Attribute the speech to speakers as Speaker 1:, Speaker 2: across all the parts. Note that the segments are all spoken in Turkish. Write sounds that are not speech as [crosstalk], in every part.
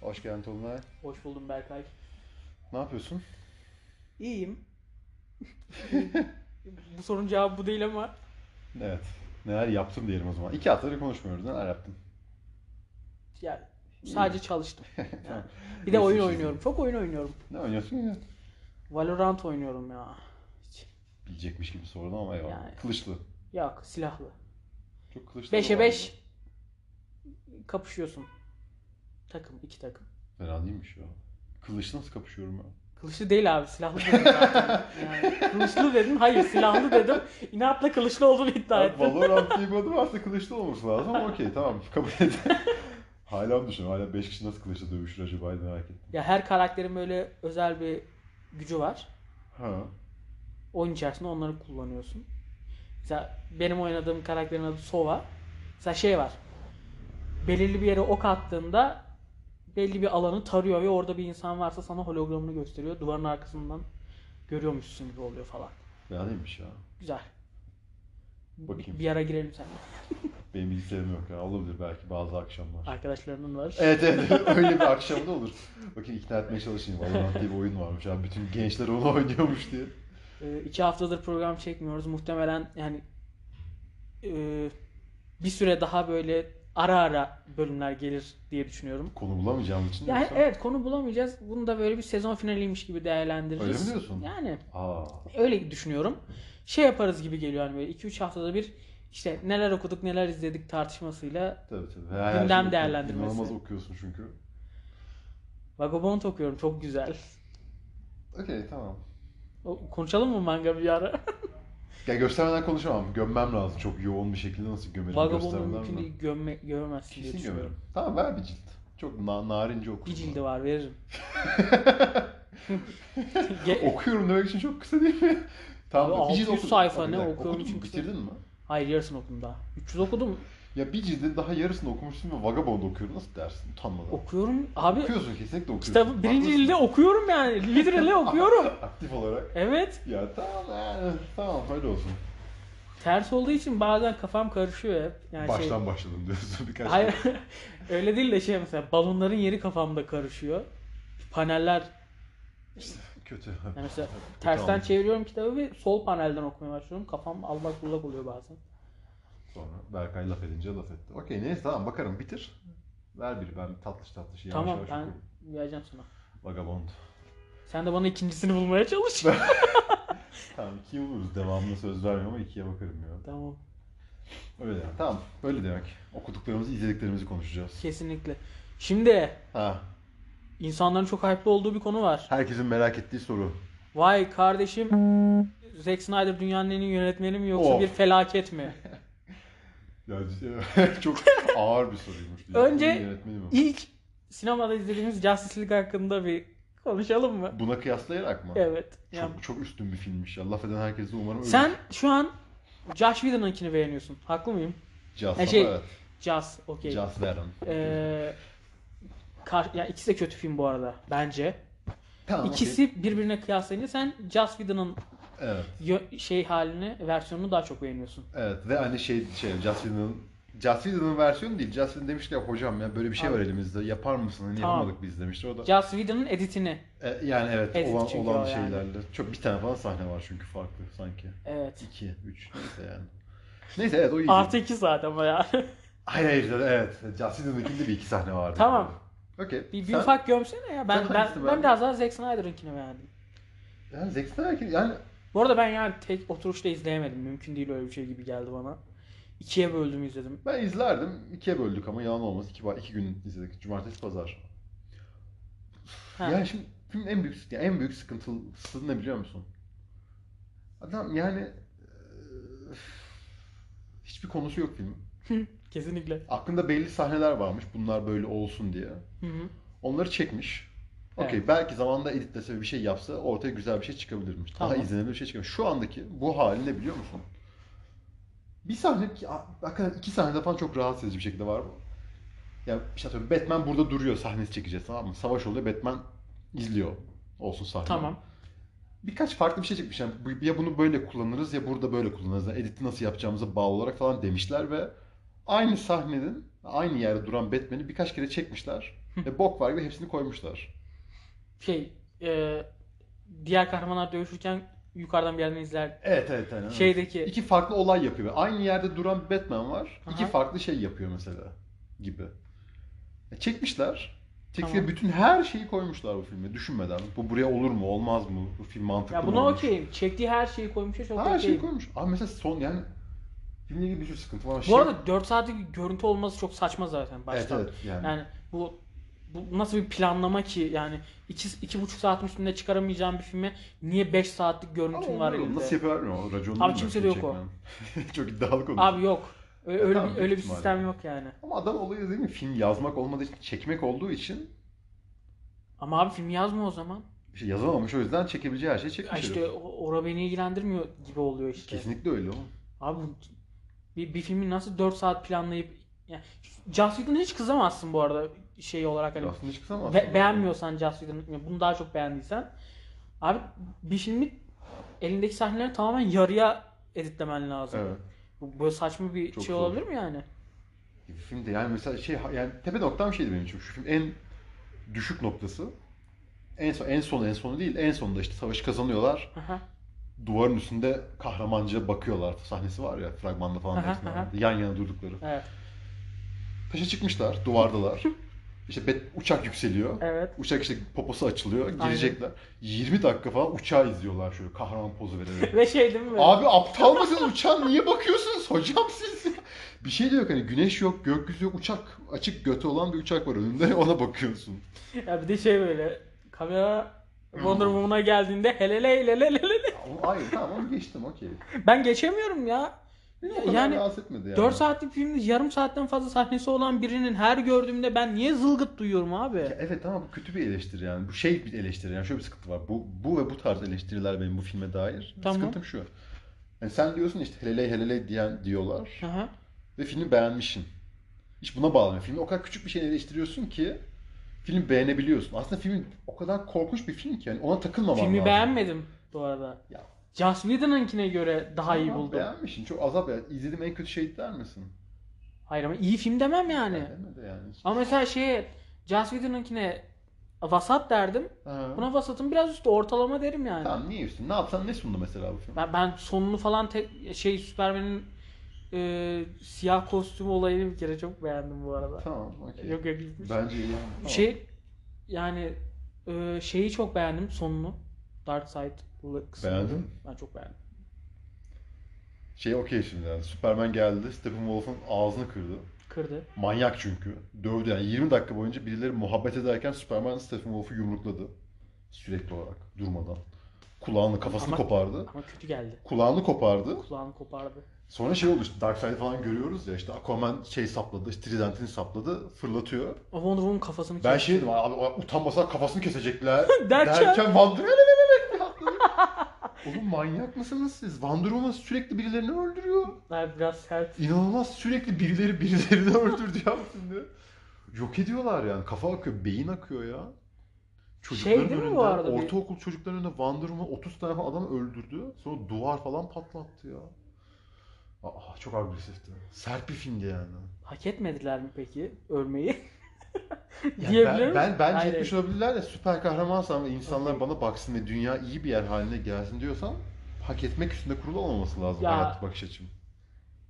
Speaker 1: Hoş geldin Tolunay.
Speaker 2: Hoş buldum Berkay.
Speaker 1: Ne yapıyorsun?
Speaker 2: İyiyim. [laughs] bu sorunun cevabı bu değil ama
Speaker 1: Evet. Neler yaptım diyelim o zaman. İki haftadır konuşmuyoruz. Neler yaptın?
Speaker 2: yani sadece çalıştım.
Speaker 1: Tamam.
Speaker 2: Bir de oyun
Speaker 1: Resim
Speaker 2: oynuyorum. Çok oyun oynuyorum.
Speaker 1: Ne oynuyorsun ya?
Speaker 2: Valorant oynuyorum ya. Hiç-
Speaker 1: Bilecekmiş gibi sordum ama eyvallah.
Speaker 2: Yani.
Speaker 1: Kılıçlı.
Speaker 2: Yok silahlı.
Speaker 1: Çok kılıçlı.
Speaker 2: 5'e
Speaker 1: mı var
Speaker 2: 5 kapışıyorsun. Takım iki takım.
Speaker 1: ya? Fena değilmiş ya. Kılıçla nasıl kapışıyorum ben?
Speaker 2: Kılıçlı değil abi silahlı dedim zaten. Yani, kılıçlı dedim hayır silahlı dedim. İnatla kılıçlı olduğunu iddia
Speaker 1: Ben
Speaker 2: ettim.
Speaker 1: Valorant diye bir adı varsa kılıçlı olması lazım ama okey tamam kabul et. [laughs] hala mı düşün? Hala 5 kişi nasıl kılıçla dövüşür acaba merak ettim.
Speaker 2: Ya her karakterin böyle özel bir gücü var.
Speaker 1: Ha.
Speaker 2: oyun içerisinde onları kullanıyorsun. Mesela benim oynadığım karakterin adı Sova. Mesela şey var. Belirli bir yere ok attığında belli bir alanı tarıyor ve orada bir insan varsa sana hologramını gösteriyor. Duvarın arkasından görüyormuşsun gibi oluyor falan.
Speaker 1: Fena değilmiş ya.
Speaker 2: Güzel.
Speaker 1: Bakayım.
Speaker 2: Bir, bir ara girelim seninle.
Speaker 1: Benim bilgisayarım yok ya. Olabilir belki bazı akşamlar.
Speaker 2: Arkadaşlarının var.
Speaker 1: Evet evet [laughs] öyle bir akşamda olur. Bakın ikna etmeye çalışayım. Valorant diye bir oyun varmış abi. Bütün gençler onu oynuyormuş diye.
Speaker 2: Ee, iki haftadır program çekmiyoruz. Muhtemelen yani e, bir süre daha böyle ara ara bölümler gelir diye düşünüyorum.
Speaker 1: Konu bulamayacağımız için
Speaker 2: Yani
Speaker 1: yoksa-
Speaker 2: evet konu bulamayacağız. Bunu da böyle bir sezon finaliymiş gibi
Speaker 1: Öyle mi
Speaker 2: değerlendiririz.
Speaker 1: diyorsun?
Speaker 2: Yani
Speaker 1: Aa,
Speaker 2: öyle düşünüyorum. Şey yaparız gibi geliyor hani böyle 2-3 haftada bir işte neler okuduk neler izledik tartışmasıyla.
Speaker 1: tabii tabii. Her- her
Speaker 2: Gündem
Speaker 1: şeyi
Speaker 2: değerlendirmesi.
Speaker 1: İnanılmaz okuyorsun çünkü.
Speaker 2: Vagabond okuyorum çok güzel.
Speaker 1: Okey tamam.
Speaker 2: O- Konuşalım mı manga bir ara?
Speaker 1: Ya göstermeden konuşamam. Gömmem lazım. Çok yoğun bir şekilde nasıl gömerim
Speaker 2: Vagabond'u
Speaker 1: göstermeden
Speaker 2: mümkün
Speaker 1: mi?
Speaker 2: değil gömme, gömemezsin diye
Speaker 1: Kesin
Speaker 2: düşünüyorum.
Speaker 1: gömerim. Tamam ver bir cilt. Çok na narince okurum.
Speaker 2: Bir
Speaker 1: ben.
Speaker 2: cildi
Speaker 1: [laughs]
Speaker 2: var veririm. Ge-
Speaker 1: Okuyorum demek için çok kısa değil mi? [laughs] Tamam.
Speaker 2: Abi,
Speaker 1: bir cilt
Speaker 2: 600
Speaker 1: okudum.
Speaker 2: sayfa
Speaker 1: Abi, bir
Speaker 2: ne
Speaker 1: dakika,
Speaker 2: okuyorum
Speaker 1: okudun,
Speaker 2: çünkü-
Speaker 1: Bitirdin mi?
Speaker 2: Hayır yarısını okudum daha. 300 okudum.
Speaker 1: Ya bir cildin daha yarısını okumuşsun ve Vagabond okuyorum. Nasıl dersin? Utanmadan.
Speaker 2: Okuyorum. Abi
Speaker 1: Okuyorsun kesinlikle okuyorsun.
Speaker 2: kitabı birinci
Speaker 1: Haklısın.
Speaker 2: cilde okuyorum yani.
Speaker 1: [laughs]
Speaker 2: Literally okuyorum.
Speaker 1: Aktif olarak.
Speaker 2: Evet.
Speaker 1: Ya tamam yani, tamam öyle olsun.
Speaker 2: Ters olduğu için bazen kafam karışıyor hep. Yani [laughs]
Speaker 1: Baştan başladım diyorsun
Speaker 2: şey,
Speaker 1: birkaç
Speaker 2: hayır, öyle değil de şey mesela balonların yeri kafamda karışıyor. Paneller
Speaker 1: kere. Kötü. [laughs]
Speaker 2: yani mesela
Speaker 1: Kötü
Speaker 2: tersten
Speaker 1: anladım.
Speaker 2: çeviriyorum kitabı ve sol panelden okumaya başlıyorum. Kafam allak bullak oluyor bazen.
Speaker 1: Sonra Berkay laf edince laf etti. Okey neyse tamam bakarım bitir. Ver biri ben tatlış tatlış yavaş
Speaker 2: tamam
Speaker 1: yavaş
Speaker 2: ben
Speaker 1: okurum.
Speaker 2: vereceğim sana.
Speaker 1: Vagabond.
Speaker 2: Sen de bana ikincisini bulmaya çalış.
Speaker 1: Tamam ikiye buluruz devamını söz vermiyorum ama ikiye bakarım ya.
Speaker 2: [laughs] tamam
Speaker 1: Öyle yani. Tamam öyle demek. Okuduklarımızı izlediklerimizi konuşacağız.
Speaker 2: kesinlikle. Şimdi
Speaker 1: Ha
Speaker 2: insanların çok hype'lı olduğu bir konu var.
Speaker 1: herkesin merak ettiği soru.
Speaker 2: Vay kardeşim Zack Snyder dünyanın en iyi yönetmeni mi yoksa
Speaker 1: Of.
Speaker 2: bir felaket mi?
Speaker 1: Ya [laughs] çok ağır bir soruymuş.
Speaker 2: Önce-
Speaker 1: Yönetmenim o.
Speaker 2: İlk sinemada izlediğimiz Justice League hakkında bir konuşalım mı?
Speaker 1: Buna kıyaslayarak mı?
Speaker 2: Evet. Yani.
Speaker 1: Çok, çok üstün bir filmmiş ya. Laf eden herkes de umarım ölür.
Speaker 2: Sen şu an Josh Whedon'ınkini beğeniyorsun. Haklı mıyım?
Speaker 1: Just,
Speaker 2: Ha, şey-
Speaker 1: evet.
Speaker 2: Jazz, okey.
Speaker 1: Just Veron.
Speaker 2: Ee, kar- ya ikisi de kötü film bu arada bence.
Speaker 1: Tamam, okey.
Speaker 2: İkisi birbirine kıyaslayınca sen Joss Whedon'ın
Speaker 1: Evet,
Speaker 2: yö- şey halini, versiyonunu daha çok beğeniyorsun.
Speaker 1: evet. Ve hani şey, şey Just Whedon'ın Just Whedon'ın versiyonu değil. Just Whedon demiş ki hocam ya böyle bir şey
Speaker 2: Abi.
Speaker 1: var elimizde. Yapar mısın? Hani
Speaker 2: Tamam.
Speaker 1: yapamadık biz demişti. O da
Speaker 2: Joss Whedon'ın editini.
Speaker 1: E, yani evet
Speaker 2: Edit
Speaker 1: olan
Speaker 2: çünkü
Speaker 1: olan
Speaker 2: o yani.
Speaker 1: şeylerle. Çok bir tane falan sahne var çünkü farklı sanki.
Speaker 2: Evet.
Speaker 1: 2 3 neyse yani. Neyse evet o iyi.
Speaker 2: Artı iki saat ama ya. [laughs]
Speaker 1: Hayır hayır evet. Just Whedon'ınkinde bir iki sahne vardı.
Speaker 2: Tamam.
Speaker 1: Okey.
Speaker 2: Bir, bir
Speaker 1: Sen-
Speaker 2: ufak gömsene ya. Ben
Speaker 1: Sen
Speaker 2: ben,
Speaker 1: hangisini
Speaker 2: ben,
Speaker 1: beğendin?
Speaker 2: biraz daha Zack Snyder'ınkini beğendim.
Speaker 1: Yani Zack Snyder yani
Speaker 2: Bu arada ben yani tek oturuşta izleyemedim. Mümkün değil öyle bir şey gibi geldi bana. İkiye böldüm izledim.
Speaker 1: Ben izlerdim. ikiye böldük ama yalan olmaz. İki, ba- iki gün izledik. Cumartesi, pazar.
Speaker 2: Ha.
Speaker 1: Yani şimdi filmin en büyük, yani en büyük sıkıntısı ne biliyor musun? Adam yani eee, hiçbir konusu yok filmin.
Speaker 2: Kesinlikle.
Speaker 1: Aklında belli sahneler varmış. Bunlar böyle olsun diye.
Speaker 2: Hı hı.
Speaker 1: Onları çekmiş. Okey,
Speaker 2: Evet.
Speaker 1: belki zamanında editlese ve bir şey yapsa ortaya güzel bir şey çıkabilirmiş. Daha
Speaker 2: Tamam.
Speaker 1: izlenebilir bir şey çıkabilir. Şu andaki bu hali ne biliyor musun? Bir sahne, ki- a- hakikaten iki sahnede falan çok rahatsız edici bir şekilde var bu. Ya işte atıyorum Batman burada duruyor sahnesi çekeceğiz tamam mı? Savaş oluyor Batman izliyor olsun sahne.
Speaker 2: Tamam.
Speaker 1: Birkaç farklı bir şey çekmiş. Yani bu- ya bunu böyle kullanırız ya burada böyle kullanırız. Yani editi nasıl yapacağımıza bağlı olarak falan demişler ve aynı sahnenin Aynı yerde duran Batman'i birkaç kere çekmişler. ve bok var gibi hepsini koymuşlar.
Speaker 2: Şey e, diğer kahramanlar dövüşürken yukarıdan bir yerden izler.
Speaker 1: Evet evet. Aynen.
Speaker 2: Şeydeki
Speaker 1: İki farklı olay yapıyor. Aynı yerde duran Batman var. iki
Speaker 2: Aha.
Speaker 1: farklı şey yapıyor mesela gibi. E, Çekmişler. Çektikleri
Speaker 2: Tamam.
Speaker 1: bütün her şeyi koymuşlar bu filme düşünmeden. Bu buraya olur mu, olmaz mı? Bu film mantıklı
Speaker 2: ya
Speaker 1: mı
Speaker 2: buna
Speaker 1: olmuş?
Speaker 2: okeyim. Çektiği her şeyi koymuşa çok
Speaker 1: Her şeyi
Speaker 2: okeyim.
Speaker 1: koymuş. Abi mesela son yani filmle ilgili bir sürü sıkıntı var ama
Speaker 2: Bu arada 4 saatlik bir görüntü olması çok saçma zaten
Speaker 1: evet,
Speaker 2: baştan.
Speaker 1: evet, yani.
Speaker 2: Yani bu bu nasıl bir planlama ki yani iki, iki buçuk saatin üstünde çıkaramayacağım bir filme niye 5 saatlik
Speaker 1: Ama
Speaker 2: görüntün var
Speaker 1: olur,
Speaker 2: elinde?
Speaker 1: Nasıl yapıyorlar bilmiyorum. O raconunu
Speaker 2: Abi
Speaker 1: bilmiyorum,
Speaker 2: kimse de
Speaker 1: film
Speaker 2: yok o.
Speaker 1: çekmeyen. [laughs] Çok iddialı konu.
Speaker 2: Abi yok. Ö- Öyle,
Speaker 1: Ya tamam,
Speaker 2: bir,
Speaker 1: büyük
Speaker 2: öyle bir
Speaker 1: ihtimalle.
Speaker 2: sistem yok yani.
Speaker 1: Ama adam olayı değil mi? Film yazmak olmadığı için, çekmek olduğu için
Speaker 2: Ama abi film yazma o zaman.
Speaker 1: işte yazamamış. O yüzden çekebileceği her şeyi
Speaker 2: Ya
Speaker 1: çekmiş.
Speaker 2: işte
Speaker 1: herif.
Speaker 2: o- ora beni ilgilendirmiyor gibi oluyor işte.
Speaker 1: Kesinlikle öyle oğlum.
Speaker 2: Abi bu- bir, bir filmi nasıl 4 saat planlayıp yani Joss Whedon'a hiç kızamazsın bu arada şey olarak hani
Speaker 1: Aslında hiç kısamazsın.
Speaker 2: Be- beğenmiyorsan Joss Whedon, yani bunu daha çok beğendiysen abi bir filmi elindeki sahneleri tamamen yarıya editlemen lazım.
Speaker 1: Evet.
Speaker 2: Bu böyle saçma bir
Speaker 1: Çok
Speaker 2: şey
Speaker 1: zor.
Speaker 2: olabilir mi yani?
Speaker 1: Bir Film de yani mesela şey yani tepe noktam şeydi benim için. Şu film en düşük noktası. En son en son en sonu değil. En sonunda işte savaşı kazanıyorlar.
Speaker 2: Aha.
Speaker 1: Duvarın üstünde kahramanca bakıyorlar sahnesi var ya fragmanda falan
Speaker 2: Aha,
Speaker 1: hepsinde
Speaker 2: aha.
Speaker 1: vardı. Yan yana durdukları.
Speaker 2: Evet.
Speaker 1: Taşa çıkmışlar, duvardalar. İşte bet- uçak yükseliyor.
Speaker 2: Evet.
Speaker 1: Uçak işte poposu açılıyor, girecekler. 20 dakika falan uçağı izliyorlar şöyle kahraman pozu
Speaker 2: [laughs]
Speaker 1: vererek.
Speaker 2: Ve şey değil mi?
Speaker 1: Abi aptal mısınız? Uçağa niye bakıyorsunuz hocam siz? Bir şey de yok hani güneş yok, gökyüzü yok, uçak. Açık götü olan bir uçak var önünde ona
Speaker 2: [laughs]
Speaker 1: bakıyorsun.
Speaker 2: Ya bir de şey böyle kamera
Speaker 1: Hmm.
Speaker 2: Wonder Woman'a geldiğinde helele helele helele.
Speaker 1: Ama Hayır tamam onu geçtim okey.
Speaker 2: Ben geçemiyorum ya.
Speaker 1: Beni
Speaker 2: Ya-
Speaker 1: o kadar
Speaker 2: yani
Speaker 1: rahatsız etmedi yani.
Speaker 2: 4 saatlik filmde yarım saatten fazla sahnesi olan birinin her gördüğümde ben niye zılgıt duyuyorum abi?
Speaker 1: Ya evet ama bu kötü bir eleştiri yani. Bu şey bir eleştiri yani şöyle bir sıkıntı var. Bu, bu ve bu tarz eleştiriler benim bu filme dair.
Speaker 2: Tamam.
Speaker 1: Sıkıntım şu. Yani sen diyorsun işte heleley heleley diyen diyorlar.
Speaker 2: Aha.
Speaker 1: Ve filmi beğenmişsin. Hiç buna bağlamıyor. Filmi o kadar küçük bir şey eleştiriyorsun ki film beğenebiliyorsun. Aslında film o kadar korkunç bir film ki yani ona takılmaman
Speaker 2: Filmi
Speaker 1: lazım.
Speaker 2: beğenmedim bu arada.
Speaker 1: Ya.
Speaker 2: Joss Whedon'ınkine göre daha iyi
Speaker 1: Ama
Speaker 2: buldum.
Speaker 1: Beğenmişsin. Çok azap ya. İzlediğim en kötü şey der misin?
Speaker 2: Hayır ama iyi film demem yani.
Speaker 1: Beğenmedi yani.
Speaker 2: Ama mesela şeye Joss Whedon'ınkine vasat derdim.
Speaker 1: Ha.
Speaker 2: Buna vasatın biraz üstü ortalama derim yani.
Speaker 1: Tamam niye üstün? Ne yapsan ne sundu mesela bu film?
Speaker 2: Ben, ben sonunu falan tek şey Superman'in e, siyah kostümü olayını bir kere çok beğendim bu arada.
Speaker 1: Tamam okey.
Speaker 2: Yok yok gitmiş.
Speaker 1: Bence iyi. yani. Tamam.
Speaker 2: Şey yani e, şeyi çok beğendim sonunu. Dark Side kısmını.
Speaker 1: Beğendin mi?
Speaker 2: Ben çok beğendim.
Speaker 1: Şey okey şimdi yani. Superman geldi. Steppenwolf'un ağzını kırdı.
Speaker 2: Kırdı.
Speaker 1: Manyak çünkü. Dövdü yani 20 dakika boyunca birileri muhabbet ederken Superman Steppenwolf'u yumrukladı. Sürekli olarak durmadan. Kulağını kafasını
Speaker 2: Ama-
Speaker 1: kopardı.
Speaker 2: Ama kötü geldi.
Speaker 1: Kulağını kopardı.
Speaker 2: Kulağını kopardı.
Speaker 1: Sonra şey oldu işte Darkseid'i falan görüyoruz ya işte Aquaman şey sapladı, işte Trident'ini sapladı, fırlatıyor.
Speaker 2: Ama Wonder Woman kafasını
Speaker 1: Ben
Speaker 2: kesti.
Speaker 1: şey dedim abi utanmasa kafasını kesecekler
Speaker 2: Derken-
Speaker 1: derken, Wonder Woman Oğlum manyak mısınız siz? Wonder Woman sürekli birilerini öldürüyor.
Speaker 2: Ben biraz sert.
Speaker 1: İnanılmaz sürekli birileri birilerini [laughs] öldürdü ya şimdi. Yok ediyorlar yani. Kafa akıyor, beyin akıyor ya. Çocukların
Speaker 2: Şey değil mi bu
Speaker 1: önünde,
Speaker 2: arada bir-
Speaker 1: ortaokul çocukların önünde Wonder Woman 30 tane falan adam öldürdü. Sonra duvar falan patlattı ya. Aa, çok agresifti. Sert bir filmdi
Speaker 2: [laughs]
Speaker 1: yani.
Speaker 2: Hak etmediler mi peki ölmeyi? [laughs]
Speaker 1: Yani
Speaker 2: Diyebilir
Speaker 1: ben, ben, şey- bence
Speaker 2: Hayır,
Speaker 1: etmiş olabilirler de süper kahramansam ve insanlar bana baksın ve dünya iyi bir yer haline gelsin diyorsam hak etmek üstünde kurulu olmaması lazım
Speaker 2: Ya.
Speaker 1: hayat bakış açım.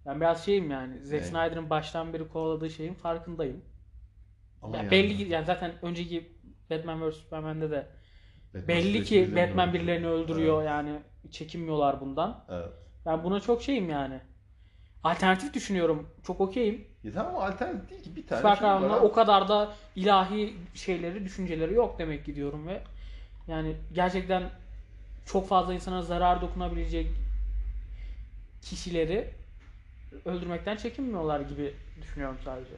Speaker 2: Ben biraz şeyim yani.
Speaker 1: Ne?
Speaker 2: Zack Snyder'ın baştan beri kovaladığı şeyin farkındayım.
Speaker 1: Ama
Speaker 2: ya
Speaker 1: yani
Speaker 2: belli ki yani zaten önceki Batman vs Superman'de de
Speaker 1: Batman
Speaker 2: belli
Speaker 1: sürekli
Speaker 2: ki
Speaker 1: birilerini
Speaker 2: Batman
Speaker 1: öldürüyor.
Speaker 2: birilerini öldürüyor yani çekinmiyorlar bundan.
Speaker 1: Evet. evet.
Speaker 2: Ben buna çok şeyim yani. Alternatif düşünüyorum. Çok okeyim.
Speaker 1: Ya tamam ama alternatif değil ki bir tane
Speaker 2: Süper
Speaker 1: film var
Speaker 2: kahramanlar
Speaker 1: abi.
Speaker 2: o kadar da ilahi şeyleri, düşünceleri yok demek ki diyorum ve yani gerçekten çok fazla insana zarar dokunabilecek kişileri öldürmekten çekinmiyorlar gibi düşünüyorum sadece.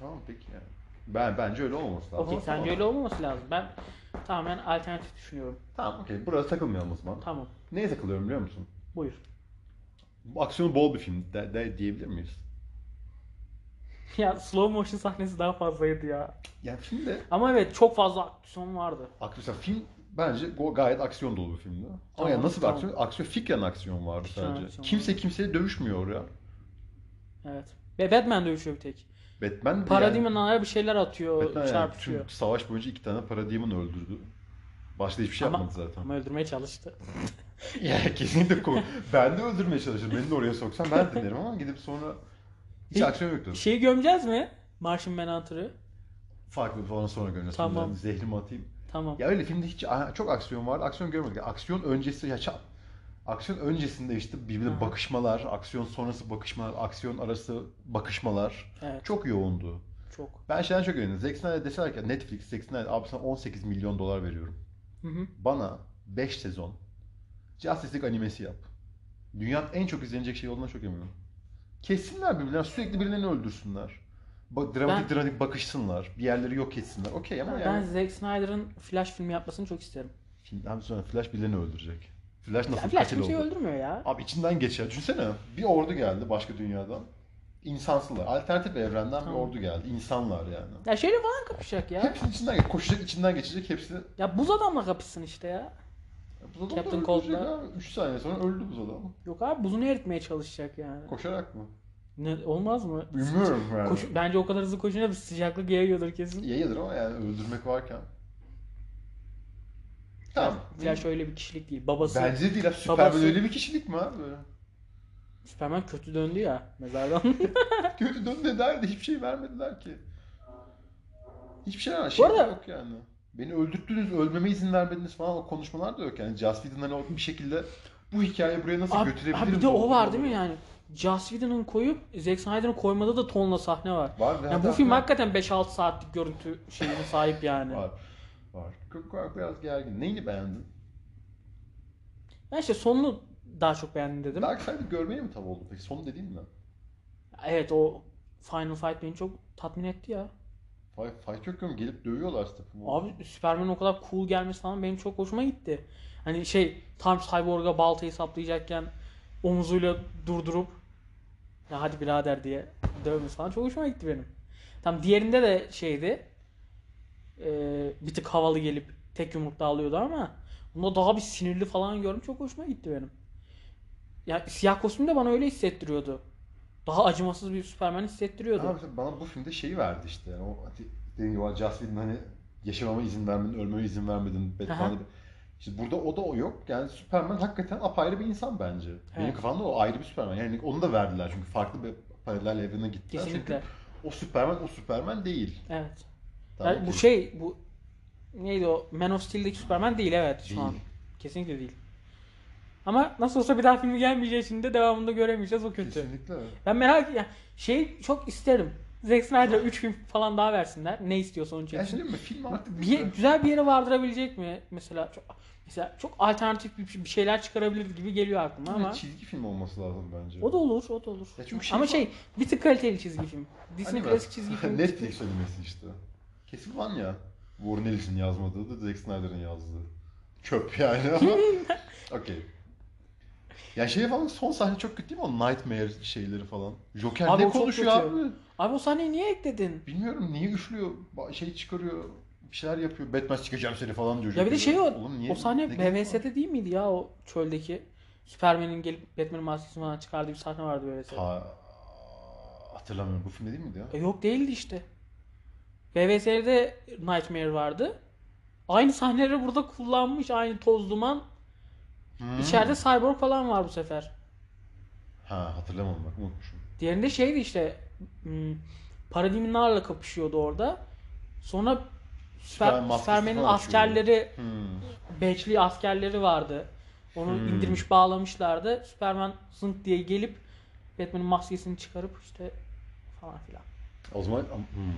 Speaker 1: Tamam peki yani. Ben bence öyle olması lazım.
Speaker 2: Okey
Speaker 1: Ama
Speaker 2: sence
Speaker 1: tamam.
Speaker 2: öyle olmaması lazım. Ben tamamen alternatif düşünüyorum.
Speaker 1: Tamam okey. Burası takılmayalım o zaman.
Speaker 2: Tamam.
Speaker 1: Neye takılıyorum biliyor musun?
Speaker 2: Buyur.
Speaker 1: Bu aksiyonu bol bir film de, de- diyebilir miyiz?
Speaker 2: [laughs] Ya slow motion sahnesi daha fazlaydı ya.
Speaker 1: Yani filmde
Speaker 2: Ama evet çok fazla aksiyon vardı.
Speaker 1: ak- mesela film bence go- gayet aksiyon dolu bir filmdi. Ama
Speaker 2: Tamam,
Speaker 1: yani nasıl bir
Speaker 2: tamam.
Speaker 1: aksiyon? Aksiyon fikren aksiyon vardı
Speaker 2: Fikren
Speaker 1: sadece.
Speaker 2: aksiyon
Speaker 1: Kimse
Speaker 2: vardı.
Speaker 1: kimseye dövüşmüyor ya.
Speaker 2: Evet. Ve Batman dövüşüyor bir tek.
Speaker 1: Batman de
Speaker 2: Paradigma'nın
Speaker 1: yani,
Speaker 2: araya bir şeyler atıyor,
Speaker 1: Batman yani
Speaker 2: çarpışıyor.
Speaker 1: tüm savaş boyunca iki tane Paradigma'nı öldürdü. Başka hiçbir şey
Speaker 2: Ama-
Speaker 1: yapmadı zaten.
Speaker 2: Ama öldürmeye çalıştı.
Speaker 1: Ya kesinlikle ko- Ben de öldürmeye çalışırım. Beni de oraya soksan ben dinlerim ama gidip sonra hiç
Speaker 2: Bir-
Speaker 1: akşam yoktu.
Speaker 2: Şeyi gömeceğiz mi? Martian Manhunter'ı.
Speaker 1: Farklı falan sonra göreceğiz.
Speaker 2: Tamam.
Speaker 1: Bunların Zehrimi atayım.
Speaker 2: Tamam.
Speaker 1: Ya öyle filmde hiç a- çok aksiyon vardı. Aksiyon görmedik. Yani Aksiyon öncesi ya ça- aksiyon öncesinde işte birbirine
Speaker 2: Aha.
Speaker 1: bakışmalar, aksiyon sonrası bakışmalar, aksiyon arası bakışmalar
Speaker 2: Evet.
Speaker 1: çok yoğundu.
Speaker 2: Çok.
Speaker 1: Ben şeyden çok eğlendim. Zack Snyder deseler ki Netflix Zack Snyder abi sana 18 milyon dolar veriyorum.
Speaker 2: Hı hı.
Speaker 1: Bana 5 sezon Justice League animesi yap. Dünyanın en çok izlenecek şey olduğuna çok eminim. Kessinler birbirlerini, sürekli birilerini öldürsünler. Ba- dramatik dramatik bakışsınlar, bir yerleri yok etsinler. Okey ama yani...
Speaker 2: Ben Zack Snyder'ın Flash filmi yapmasını çok isterim.
Speaker 1: Şimdi abi sonra Flash birilerini öldürecek. Flash
Speaker 2: Ya
Speaker 1: nasıl
Speaker 2: Flash şey
Speaker 1: katil
Speaker 2: kimseyi
Speaker 1: oldu?
Speaker 2: öldürmüyor ya.
Speaker 1: Abi içinden geçer. Düşünsene bir ordu geldi başka dünyadan. İnsansılar. Alternatif evrenden
Speaker 2: Tamam.
Speaker 1: bir ordu geldi. İnsanlar yani.
Speaker 2: Ya şeyle falan kapışacak ya.
Speaker 1: Hepsinin içinden geç- koşacak, içinden geçecek. Hepsi
Speaker 2: Ya buz adamla kapışsın işte ya.
Speaker 1: bu adam
Speaker 2: Captain
Speaker 1: Captain
Speaker 2: Cold'la-
Speaker 1: 3 saniye sonra öldü bu adam.
Speaker 2: Yok abi buzunu eritmeye çalışacak yani.
Speaker 1: Koşarak mı?
Speaker 2: Ne, olmaz mı?
Speaker 1: Bilmiyorum yani.
Speaker 2: Koş, bence o kadar hızlı koşunca bir sıcaklık yayıyordur kesin.
Speaker 1: Yayılır ama yani öldürmek varken. Tamam.
Speaker 2: Flash öyle bir kişilik değil. Babası.
Speaker 1: Bence değil abi. Superman
Speaker 2: Babası-
Speaker 1: öyle bir kişilik mi abi?
Speaker 2: Superman kötü döndü ya mezardan.
Speaker 1: Kötü döndü derdi. Hiçbir şey vermediler ki. Hiçbir şey, var,
Speaker 2: Bu
Speaker 1: şey
Speaker 2: arada-
Speaker 1: yok yani. Beni öldürttünüz, ölmeme izin vermediniz falan o konuşmalar da yok yani. Joss Whedon hani o bir şekilde bu hikayeyi buraya nasıl
Speaker 2: abi,
Speaker 1: götürebilirim?
Speaker 2: abi bir de o
Speaker 1: zorluğu
Speaker 2: var değil mi yani? Joss Whedon'ın koyup Zack Snyder'ın koymada da tonla sahne var.
Speaker 1: Var ve
Speaker 2: Yani bu
Speaker 1: hatta-
Speaker 2: film hakikaten 5-6 saatlik görüntü şeyine sahip yani.
Speaker 1: Var. Var. Çok var, biraz gergin. Neyini beğendin?
Speaker 2: Ben işte sonunu daha çok beğendim dedim.
Speaker 1: Dark Side'ı görmeye mi tav oldu peki? Sonu dediğin mi?
Speaker 2: Evet o Final Fight beni çok tatmin etti ya.
Speaker 1: Fight, fight yok mu? Gelip dövüyorlar Stephen
Speaker 2: Abi Superman'in o kadar cool gelmesi falan benim çok hoşuma gitti. Hani şey tam Cyborg'a baltayı saplayacakken omuzuyla durdurup ya hadi birader diye dövmesi falan çok hoşuma gitti benim. Tam diğerinde de şeydi eee, bir tık havalı gelip tek yumrukta alıyordu ama bunda daha bir sinirli falan gördüm çok hoşuma gitti benim. Ya siyah kostüm de bana öyle hissettiriyordu. Daha acımasız bir Superman hissettiriyordu.
Speaker 1: Ama mesela bana bu filmde şeyi verdi işte. Yani o hani dediğim gibi Joss Whedon hani yaşamama izin vermedin, ölmeme izin vermedin.
Speaker 2: Aha.
Speaker 1: Batman'da. İşte burada o da o yok. Yani Superman hakikaten apayrı bir insan bence. Benim
Speaker 2: Evet.
Speaker 1: kafamda o ayrı bir Superman. Yani onu da verdiler çünkü farklı bir paralel evrene gittiler.
Speaker 2: Kesinlikle.
Speaker 1: Çünkü o Superman o Superman değil.
Speaker 2: Evet.
Speaker 1: Tamam
Speaker 2: Yani
Speaker 1: mı?
Speaker 2: bu şey bu neydi o Man of Steel'deki Superman değil evet şu
Speaker 1: Değil.
Speaker 2: an. Kesinlikle değil. Ama nasıl olsa bir daha filmi gelmeyeceği için de devamında göremeyeceğiz o kötü.
Speaker 1: Kesinlikle.
Speaker 2: Ben merak ya şey çok isterim. Zack Snyder 3 film falan daha versinler. Ne istiyorsa onun
Speaker 1: Ya
Speaker 2: çeksin.
Speaker 1: şimdi mi film artık
Speaker 2: bir,
Speaker 1: işte.
Speaker 2: güzel bir yere vardırabilecek mi mesela çok mesela çok alternatif bir, bir şeyler çıkarabilir gibi geliyor aklıma
Speaker 1: Değil mi?
Speaker 2: ama
Speaker 1: çizgi film olması lazım bence.
Speaker 2: o da olur, o da olur.
Speaker 1: Ya çünkü
Speaker 2: ama
Speaker 1: şey-
Speaker 2: şey bir tık kaliteli çizgi film. Disney
Speaker 1: Anime.
Speaker 2: Hani
Speaker 1: [laughs]
Speaker 2: klasik çizgi film.
Speaker 1: Netflix animesi işte. Kesin lan ya. Warren Ellis'in yazmadığı da Zack Snyder'ın yazdığı. Çöp yani ama.
Speaker 2: [laughs]
Speaker 1: Okey. Ya şey falan son sahne çok kötü değil mi o Nightmare şeyleri falan. Joker
Speaker 2: Abi
Speaker 1: ne
Speaker 2: o çok
Speaker 1: konuşuyor
Speaker 2: kötü.
Speaker 1: abi?
Speaker 2: Abi o sahneyi niye ekledin?
Speaker 1: Bilmiyorum niye üflüyor, ba- şey çıkarıyor, bir şeyler yapıyor. Batman çıkacağım seni falan diyor.
Speaker 2: Ya bir de
Speaker 1: Joker'e.
Speaker 2: şey o,
Speaker 1: Oğlum niye-
Speaker 2: o sahne
Speaker 1: ne gerek var?
Speaker 2: BVS'de değil miydi ya o çöldeki? Superman'in gelip Batman'in maskesini falan çıkardığı bir sahne vardı BVS'de.
Speaker 1: Ha, hatırlamıyorum bu filmde değil miydi ya?
Speaker 2: E yok değildi işte. BVS'de Nightmare vardı. Aynı sahneleri burada kullanmış, aynı toz duman.
Speaker 1: Hmm.
Speaker 2: İçeride Cyborg falan var bu sefer.
Speaker 1: Ha hatırlamam bak unutmuşum.
Speaker 2: Diğerinde şeydi işte hmm, Paradigmlarla kapışıyordu orada. Sonra
Speaker 1: Superman
Speaker 2: Süper,
Speaker 1: maskesi
Speaker 2: Superman'in
Speaker 1: falan açıyordu.
Speaker 2: askerleri
Speaker 1: Hmm.
Speaker 2: Beçli askerleri vardı. Onu
Speaker 1: Hmm.
Speaker 2: indirmiş bağlamışlardı. Superman zınk diye gelip Batman'in maskesini çıkarıp işte falan filan.
Speaker 1: O zaman hmm.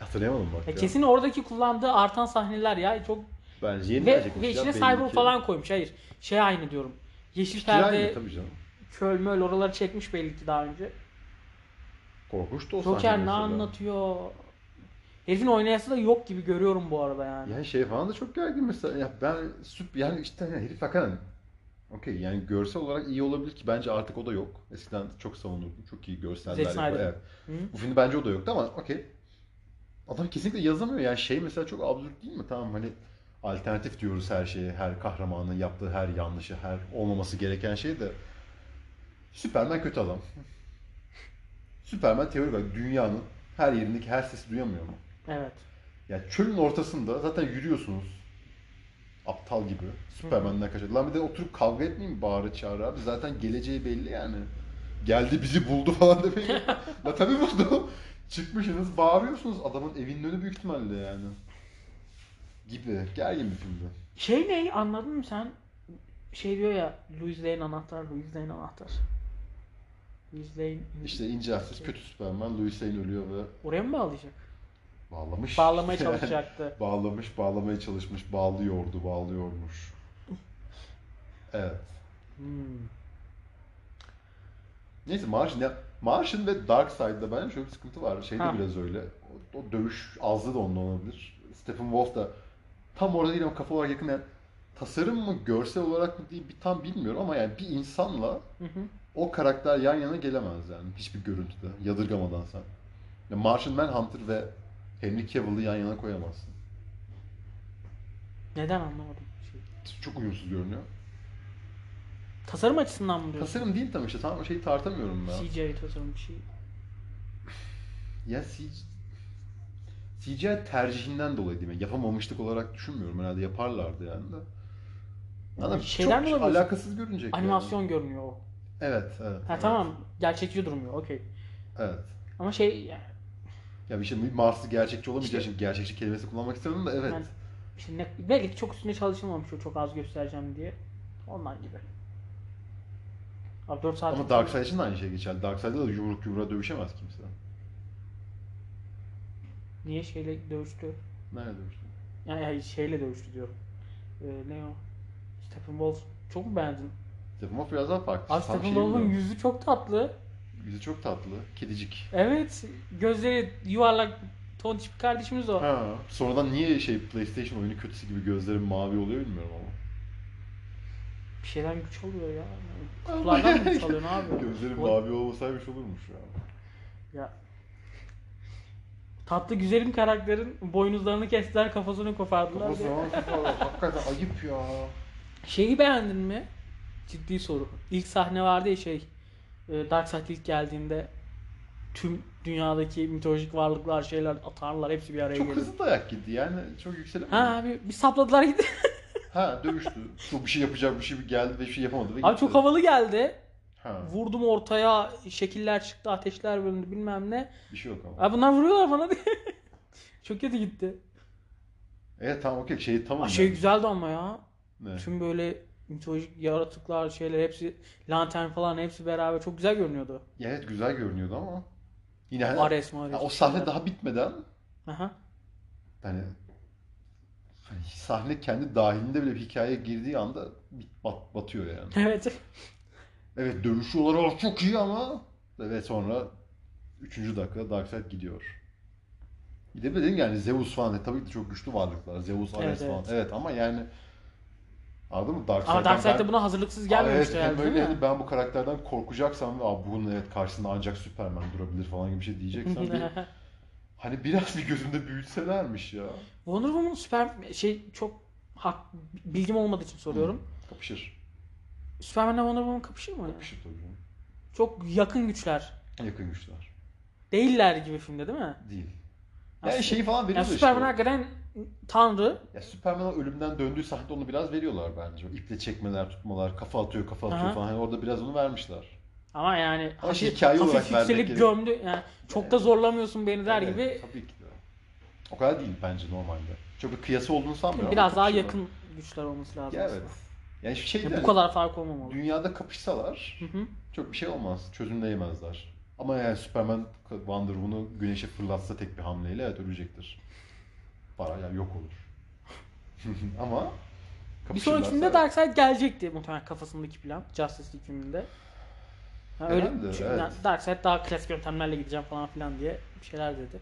Speaker 1: hatırlayamadım bak
Speaker 2: Ya
Speaker 1: ya.
Speaker 2: kesin oradaki kullandığı artan sahneler ya çok
Speaker 1: Bence yeni
Speaker 2: ve,
Speaker 1: gelecekmiş
Speaker 2: ve
Speaker 1: ya,
Speaker 2: içine
Speaker 1: belli
Speaker 2: cyborg
Speaker 1: ki.
Speaker 2: falan koymuş. Hayır. Şey aynı diyorum. Yeşil
Speaker 1: Fikir aynı
Speaker 2: perde
Speaker 1: tabii canım.
Speaker 2: köl möl oraları çekmiş belli ki daha önce.
Speaker 1: Korkunç da o sahne
Speaker 2: Joker ne
Speaker 1: mesela.
Speaker 2: anlatıyor? Herifin oynayası da yok gibi görüyorum bu arada yani.
Speaker 1: Yani şey falan da çok gergin mesela. Ya ben süp yani işte hani herif hakikaten Okey yani görsel olarak iyi olabilir ki bence artık o da yok. Eskiden çok savunurdum. Çok iyi görseller.
Speaker 2: Zack
Speaker 1: yapıyor,
Speaker 2: Snyder.
Speaker 1: evet.
Speaker 2: Hı?
Speaker 1: Bu filmde bence o da yoktu ama okey. Adam kesinlikle yazamıyor. Yani şey mesela çok absürt değil mi? Tamam hani alternatif diyoruz her şeye. Her kahramanın yaptığı her yanlışı, her olmaması gereken şey de Superman kötü adam. Superman teorik olarak dünyanın her yerindeki her sesi duyamıyor mu?
Speaker 2: Evet.
Speaker 1: Ya çölün ortasında zaten yürüyorsunuz. Aptal gibi. Superman'den kaçıyor. Lan bir de oturup kavga etmeyeyim mi bağıra çağıra abi. Zaten geleceği belli yani. Geldi bizi buldu falan demeyin. La tabii buldu. Çıkmışsınız bağırıyorsunuz adamın evinin önü büyük ihtimalle yani. Gibi. Gergin bir filmdi.
Speaker 2: Şey ne anladın mı sen? Şey diyor ya Louis Lane anahtar, Louis Lane anahtar. Louis Lane
Speaker 1: İşte Injustice, kötü Superman, Lois Lane ölüyor ve
Speaker 2: oraya mı bağlayacak?
Speaker 1: bağlamış.
Speaker 2: Bağlamaya
Speaker 1: [laughs] Yani
Speaker 2: çalışacaktı.
Speaker 1: bağlamış, bağlamaya çalışmış, bağlıyordu, bağlıyormuş. Evet.
Speaker 2: Hmm.
Speaker 1: Neyse Martian ya Martian ve Darkseid'de bence şöyle bir sıkıntı var. Şey de
Speaker 2: Ha.
Speaker 1: biraz öyle. O, o dövüş azlığı da ondan olabilir. Stephen Wolf da tam orada değil ama kafa olarak yakın. Yani tasarım mı, görsel olarak mı değil bir tam bilmiyorum ama yani bir insanla
Speaker 2: Hı hı.
Speaker 1: o karakter yan yana gelemez yani hiçbir görüntüde yadırgamadan sen. Ya Martian Manhunter ve Henry Cavill'ı yan yana koyamazsın.
Speaker 2: Neden anlamadım. Şey.
Speaker 1: Çok uyumsuz görünüyor.
Speaker 2: Tasarım açısından mı diyorsun?
Speaker 1: Tasarım değil tam işte tam şeyi tartamıyorum ben.
Speaker 2: CGI tasarım bir şey.
Speaker 1: Ya CG CGI tercihinden dolayı değil mi? Yapamamışlık olarak düşünmüyorum herhalde yaparlardı yani de. Adam
Speaker 2: Şeyden
Speaker 1: çok
Speaker 2: dolayı mı?
Speaker 1: alakasız görünecek yani.
Speaker 2: Animasyon görünüyor o.
Speaker 1: Evet, evet.
Speaker 2: Ha
Speaker 1: evet,
Speaker 2: tamam. Gerçekçi durmuyor. Okey.
Speaker 1: Evet.
Speaker 2: Ama şey yani,
Speaker 1: Ya bir şey bir Mars'ı gerçekçi olamayacak
Speaker 2: İşte-
Speaker 1: şimdi gerçekçi kelimesi kullanmak istemiyorum da evet.
Speaker 2: yani işte ne, belki çok üstüne çalışılmamış o çok az göstereceğim diye. Ondan gibi. Abi 4 saat.
Speaker 1: Ama Darkseid için de aynı şey geçerli. Darkseid'de de yumruk yumruğa dövüşemez kimse.
Speaker 2: Niye şeyle dövüştü?
Speaker 1: Nerede dövüştü?
Speaker 2: Yani, yani şeyle dövüştü diyorum. Ee, ne o? Steppenwolf. Çok mu beğendin?
Speaker 1: Stephen Wolf biraz daha farklı. Tam
Speaker 2: Abi
Speaker 1: şey
Speaker 2: Steppenwolf'un
Speaker 1: bilmiyorum.
Speaker 2: yüzü çok tatlı.
Speaker 1: yüzü çok tatlı. Kedicik.
Speaker 2: Evet. Gözleri yuvarlak tontiş bir kardeşimiz o.
Speaker 1: Ha. Sonradan niye şey PlayStation oyunu kötüsü gibi gözlerim mavi oluyor bilmiyorum ama.
Speaker 2: Bir şeyden güç alıyor ya. Yani Kutulardan mı güç alıyorsun abi?
Speaker 1: Gözlerim
Speaker 2: O-
Speaker 1: mavi olmasaymış olurmuş ya.
Speaker 2: Ya. Tatlı güzelim karakterin boynuzlarını kestiler kafasını kopardılar.
Speaker 1: Kafası
Speaker 2: diye.
Speaker 1: var, kafa var. Hakikaten ayıp ya.
Speaker 2: Şeyi beğendin mi? Ciddi soru. İlk sahne vardı ya şey. e, Darkseid ilk geldiğinde tüm dünyadaki mitolojik varlıklar, şeyler, atarlar hepsi bir araya
Speaker 1: Çok
Speaker 2: geldi.
Speaker 1: hızlı dayak yedi yani. Çok yükselemedi.
Speaker 2: Ha abi bir sapladılar gitti.
Speaker 1: Ha, dövüştü. Çok bir şey yapacak bir şey geldi ve bir şey yapamadı ve
Speaker 2: Abi
Speaker 1: gitti.
Speaker 2: çok havalı geldi.
Speaker 1: Ha,
Speaker 2: Vurdum ortaya şekiller çıktı, ateşler bölündü bilmem ne.
Speaker 1: bir şey yok ama.
Speaker 2: Abi bunlar vuruyorlar bana diye. [laughs] çok kötü gitti.
Speaker 1: Evet tamam okey şey tamam.
Speaker 2: Aa, şey
Speaker 1: yani.
Speaker 2: güzeldi ama ya.
Speaker 1: Ne?
Speaker 2: Tüm böyle mitolojik yaratıklar, şeyler hepsi, lantern falan hepsi beraber çok güzel görünüyordu.
Speaker 1: Ya, evet güzel görünüyordu ama. Yine hani,
Speaker 2: Ares Mares.
Speaker 1: Ha, o sahne daha bitmeden
Speaker 2: Aha. [laughs]
Speaker 1: hani, hani sahne kendi dahilinde bile bir hikayeye girdiği anda bit- bat, batıyor yani.
Speaker 2: Evet.
Speaker 1: Evet dövüşü olarak çok iyi ama ve sonra 3. dakikada Darkseid gidiyor. Bir de dedim yani Zeus falan e, tabii ki de çok güçlü varlıklar. Zeus, Ares
Speaker 2: Evet,
Speaker 1: falan.
Speaker 2: Evet.
Speaker 1: Evet ama yani anladın mı? Darkseid'den
Speaker 2: Ama Darkseid de
Speaker 1: ben-
Speaker 2: buna hazırlıksız
Speaker 1: Evet,
Speaker 2: gelmemişti
Speaker 1: yani
Speaker 2: herhalde
Speaker 1: böyle
Speaker 2: değil
Speaker 1: hani
Speaker 2: mi?
Speaker 1: ben bu karakterden korkacaksam ve "Aa, bunun evet karşısında ancak Superman durabilir falan gibi bir şey diyeceksen
Speaker 2: [laughs]
Speaker 1: bir, hani biraz bir gözümde büyütselermiş ya.
Speaker 2: Wonder Woman süper şey çok hak, bilgim olmadığı için soruyorum.
Speaker 1: Kapışır.
Speaker 2: Superman'le Wonder Woman kapışır mı?
Speaker 1: Kapışır tabii canım.
Speaker 2: Çok yakın güçler.
Speaker 1: Yakın güçler.
Speaker 2: Değiller gibi filmde değil mi?
Speaker 1: Değil.
Speaker 2: Aslında-
Speaker 1: Yani şey falan
Speaker 2: Yani
Speaker 1: veriyorlar işte.
Speaker 2: Superman hakikaten tanrı.
Speaker 1: Ya Superman o ölümden döndüğü sahnede onu biraz veriyorlar bence. O İple çekmeler, tutmalar, kafa atıyor, kafa atıyor
Speaker 2: Aha.
Speaker 1: falan. Hani orada biraz onu vermişler.
Speaker 2: Ama yani
Speaker 1: Ama şey,
Speaker 2: hafif,
Speaker 1: hikaye
Speaker 2: hafif
Speaker 1: olarak vermek
Speaker 2: yükselip
Speaker 1: gerekiyor.
Speaker 2: gömdü. Yani çok
Speaker 1: Evet.
Speaker 2: da zorlamıyorsun beni der
Speaker 1: Evet,
Speaker 2: gibi
Speaker 1: Tabii ki de. O kadar değil bence normalde. Çok bir kıyası olduğunu sanmıyorum. ama
Speaker 2: Biraz daha
Speaker 1: kapışıyorlar.
Speaker 2: yakın güçler olması lazım.
Speaker 1: Ya evet.
Speaker 2: aslında.
Speaker 1: Yani şey
Speaker 2: Ya
Speaker 1: de
Speaker 2: bu kadar fark olmamalı.
Speaker 1: dünyada kapışsalar
Speaker 2: Hı hı.
Speaker 1: çok bir şey olmaz. Çözümleyemezler. Ama yani Superman Wonder Woman'ı güneşe fırlatsa tek bir hamleyle evet ölecektir. Para yani yok olur. [laughs] Ama
Speaker 2: Bir sonraki
Speaker 1: kapışırlarsa
Speaker 2: filmde
Speaker 1: evet.
Speaker 2: Darkseid gelecekti muhtemelen kafasındaki plan. Justice League filminde. Ha, öyle
Speaker 1: Herhalde,
Speaker 2: çünkü
Speaker 1: evet.
Speaker 2: yani Darkseid daha klasik yöntemlerle gideceğim falan filan diye bir şeyler dedi.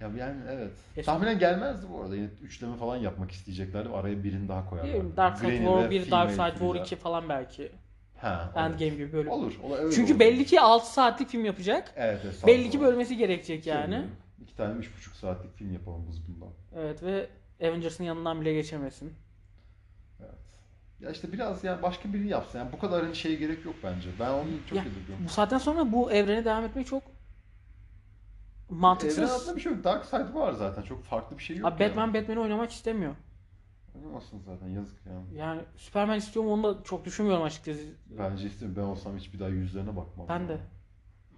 Speaker 1: Ya yani evet.
Speaker 2: Keşke.
Speaker 1: Tahminen gelmezdi bu arada. Yine üçleme falan yapmak isteyeceklerdi. Araya birini daha koyarlardı.
Speaker 2: Bilmiyorum, Darkseid
Speaker 1: Green'i ve
Speaker 2: War 1,
Speaker 1: Female
Speaker 2: Darkseid War
Speaker 1: Fury'ler.
Speaker 2: 2 falan belki.
Speaker 1: Ha, olur.
Speaker 2: Endgame gibi böyle.
Speaker 1: Olur. ola- öyle
Speaker 2: Çünkü
Speaker 1: olur.
Speaker 2: belli ki 6 saatlik film yapacak.
Speaker 1: Evet, evet, sağ
Speaker 2: belli
Speaker 1: ol. Şey
Speaker 2: ki bölmesi gerekecek yani.
Speaker 1: Söylüyorum. İki tane üç buçuk saatlik film yapalım biz bundan.
Speaker 2: Evet ve Avengers'ın yanından bile geçemesin.
Speaker 1: Evet. Ya işte biraz yani başka birini yapsa. Yani bu kadar hani şeye gerek yok bence. Ben onu çok
Speaker 2: Ya,
Speaker 1: yadırgıyorum.
Speaker 2: Bu saatten sonra bu evrene devam etmek çok
Speaker 1: Evren
Speaker 2: mantıksız.
Speaker 1: adında bir şey yok. Dark Side var zaten. Çok farklı bir şey yok.
Speaker 2: Abi
Speaker 1: yani.
Speaker 2: Batman Batman'i oynamak istemiyor.
Speaker 1: Oynamazsın zaten yazık yani.
Speaker 2: Yani Superman istiyorum onu da çok düşünmüyorum açıkçası.
Speaker 1: Bence istemiyorum. Ben olsam hiçbir daha yüzlerine bakmam.
Speaker 2: Ben
Speaker 1: yani.
Speaker 2: de.